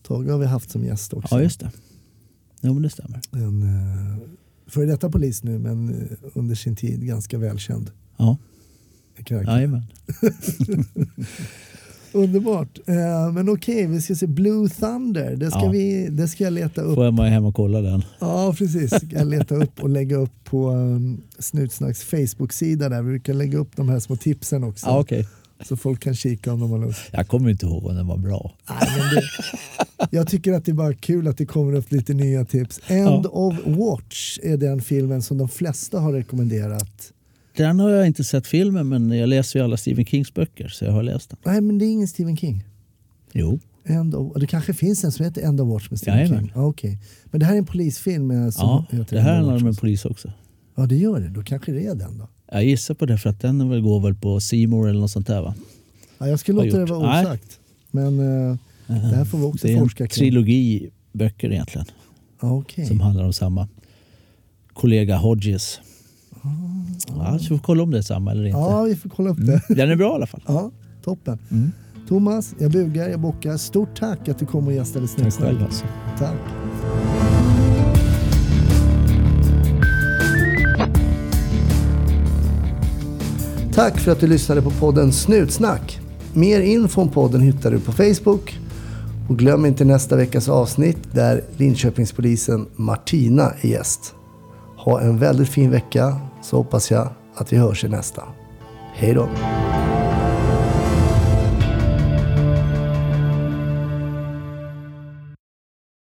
Speaker 1: Tage har vi haft som gäst också.
Speaker 3: ja, just det. Jo, men det stämmer.
Speaker 1: en eh, före detta polis nu men eh, under sin tid ganska välkänd.
Speaker 3: Ja,
Speaker 1: karaktär.
Speaker 3: jajamän.
Speaker 1: Underbart. Eh, men okej, vi ska se Blue Thunder. Det ska,
Speaker 3: Ja.
Speaker 1: vi, det ska jag leta upp.
Speaker 3: Får jag med hem och kolla den?
Speaker 1: Ja, precis. Jag leta upp och lägga upp på um, Snutsnacks Facebook-sida där. Vi brukar lägga upp de här små tipsen också.
Speaker 3: Ja, okej.
Speaker 1: Så folk kan kika om de har lust.
Speaker 3: Jag kommer inte ihåg om den var bra.
Speaker 1: Nej, men det, jag tycker att det är bara kul att det kommer upp lite nya tips. End
Speaker 3: Ja.
Speaker 1: of Watch är den filmen som de flesta har rekommenderat.
Speaker 3: Den har jag inte sett filmen, men jag läser ju alla Stephen Kings böcker, så jag har läst den.
Speaker 1: Nej, men det är ingen Stephen King.
Speaker 3: Jo.
Speaker 1: End of, det kanske finns en som heter End of Watch med Stephen
Speaker 3: Jajamän.
Speaker 1: King. Ja, okej. Men det här är en polisfilm eh, som
Speaker 3: Ja,
Speaker 1: heter
Speaker 3: det här
Speaker 1: End of
Speaker 3: handlar om en
Speaker 1: Watch.
Speaker 3: polis också.
Speaker 1: Ja, det gör det. Då kanske det är den då.
Speaker 3: Jag gissar på det för att den väl går väl på Seymour eller något sånt där va?
Speaker 1: Ja, jag ska
Speaker 3: Har
Speaker 1: låta det
Speaker 3: gjort.
Speaker 1: vara
Speaker 3: Nej.
Speaker 1: osagt. Men eh, det här får vi också
Speaker 3: Det är en
Speaker 1: forska kring.
Speaker 3: trilogi böcker egentligen
Speaker 1: Ja, okej.
Speaker 3: som handlar om samma kollega Hodges. Ja, så vi får kolla om det är samma eller inte.
Speaker 1: Ah. Ja, vi får kolla upp det.
Speaker 3: Den är bra i alla fall.
Speaker 1: Ja, toppen.
Speaker 3: Mm.
Speaker 1: Thomas, jag bugar, jag bockar. Stort tack att du kom och gästade
Speaker 3: Tack
Speaker 1: Snäcksnack.
Speaker 3: själv alltså.
Speaker 1: Tack. Tack för att du lyssnade på podden Snutsnack. Mer info om podden hittar du på Facebook. Och glöm inte nästa veckas avsnitt där Linköpingspolisen Martina är gäst. Ha en väldigt fin vecka så hoppas jag att vi hörs i nästa. Hej då!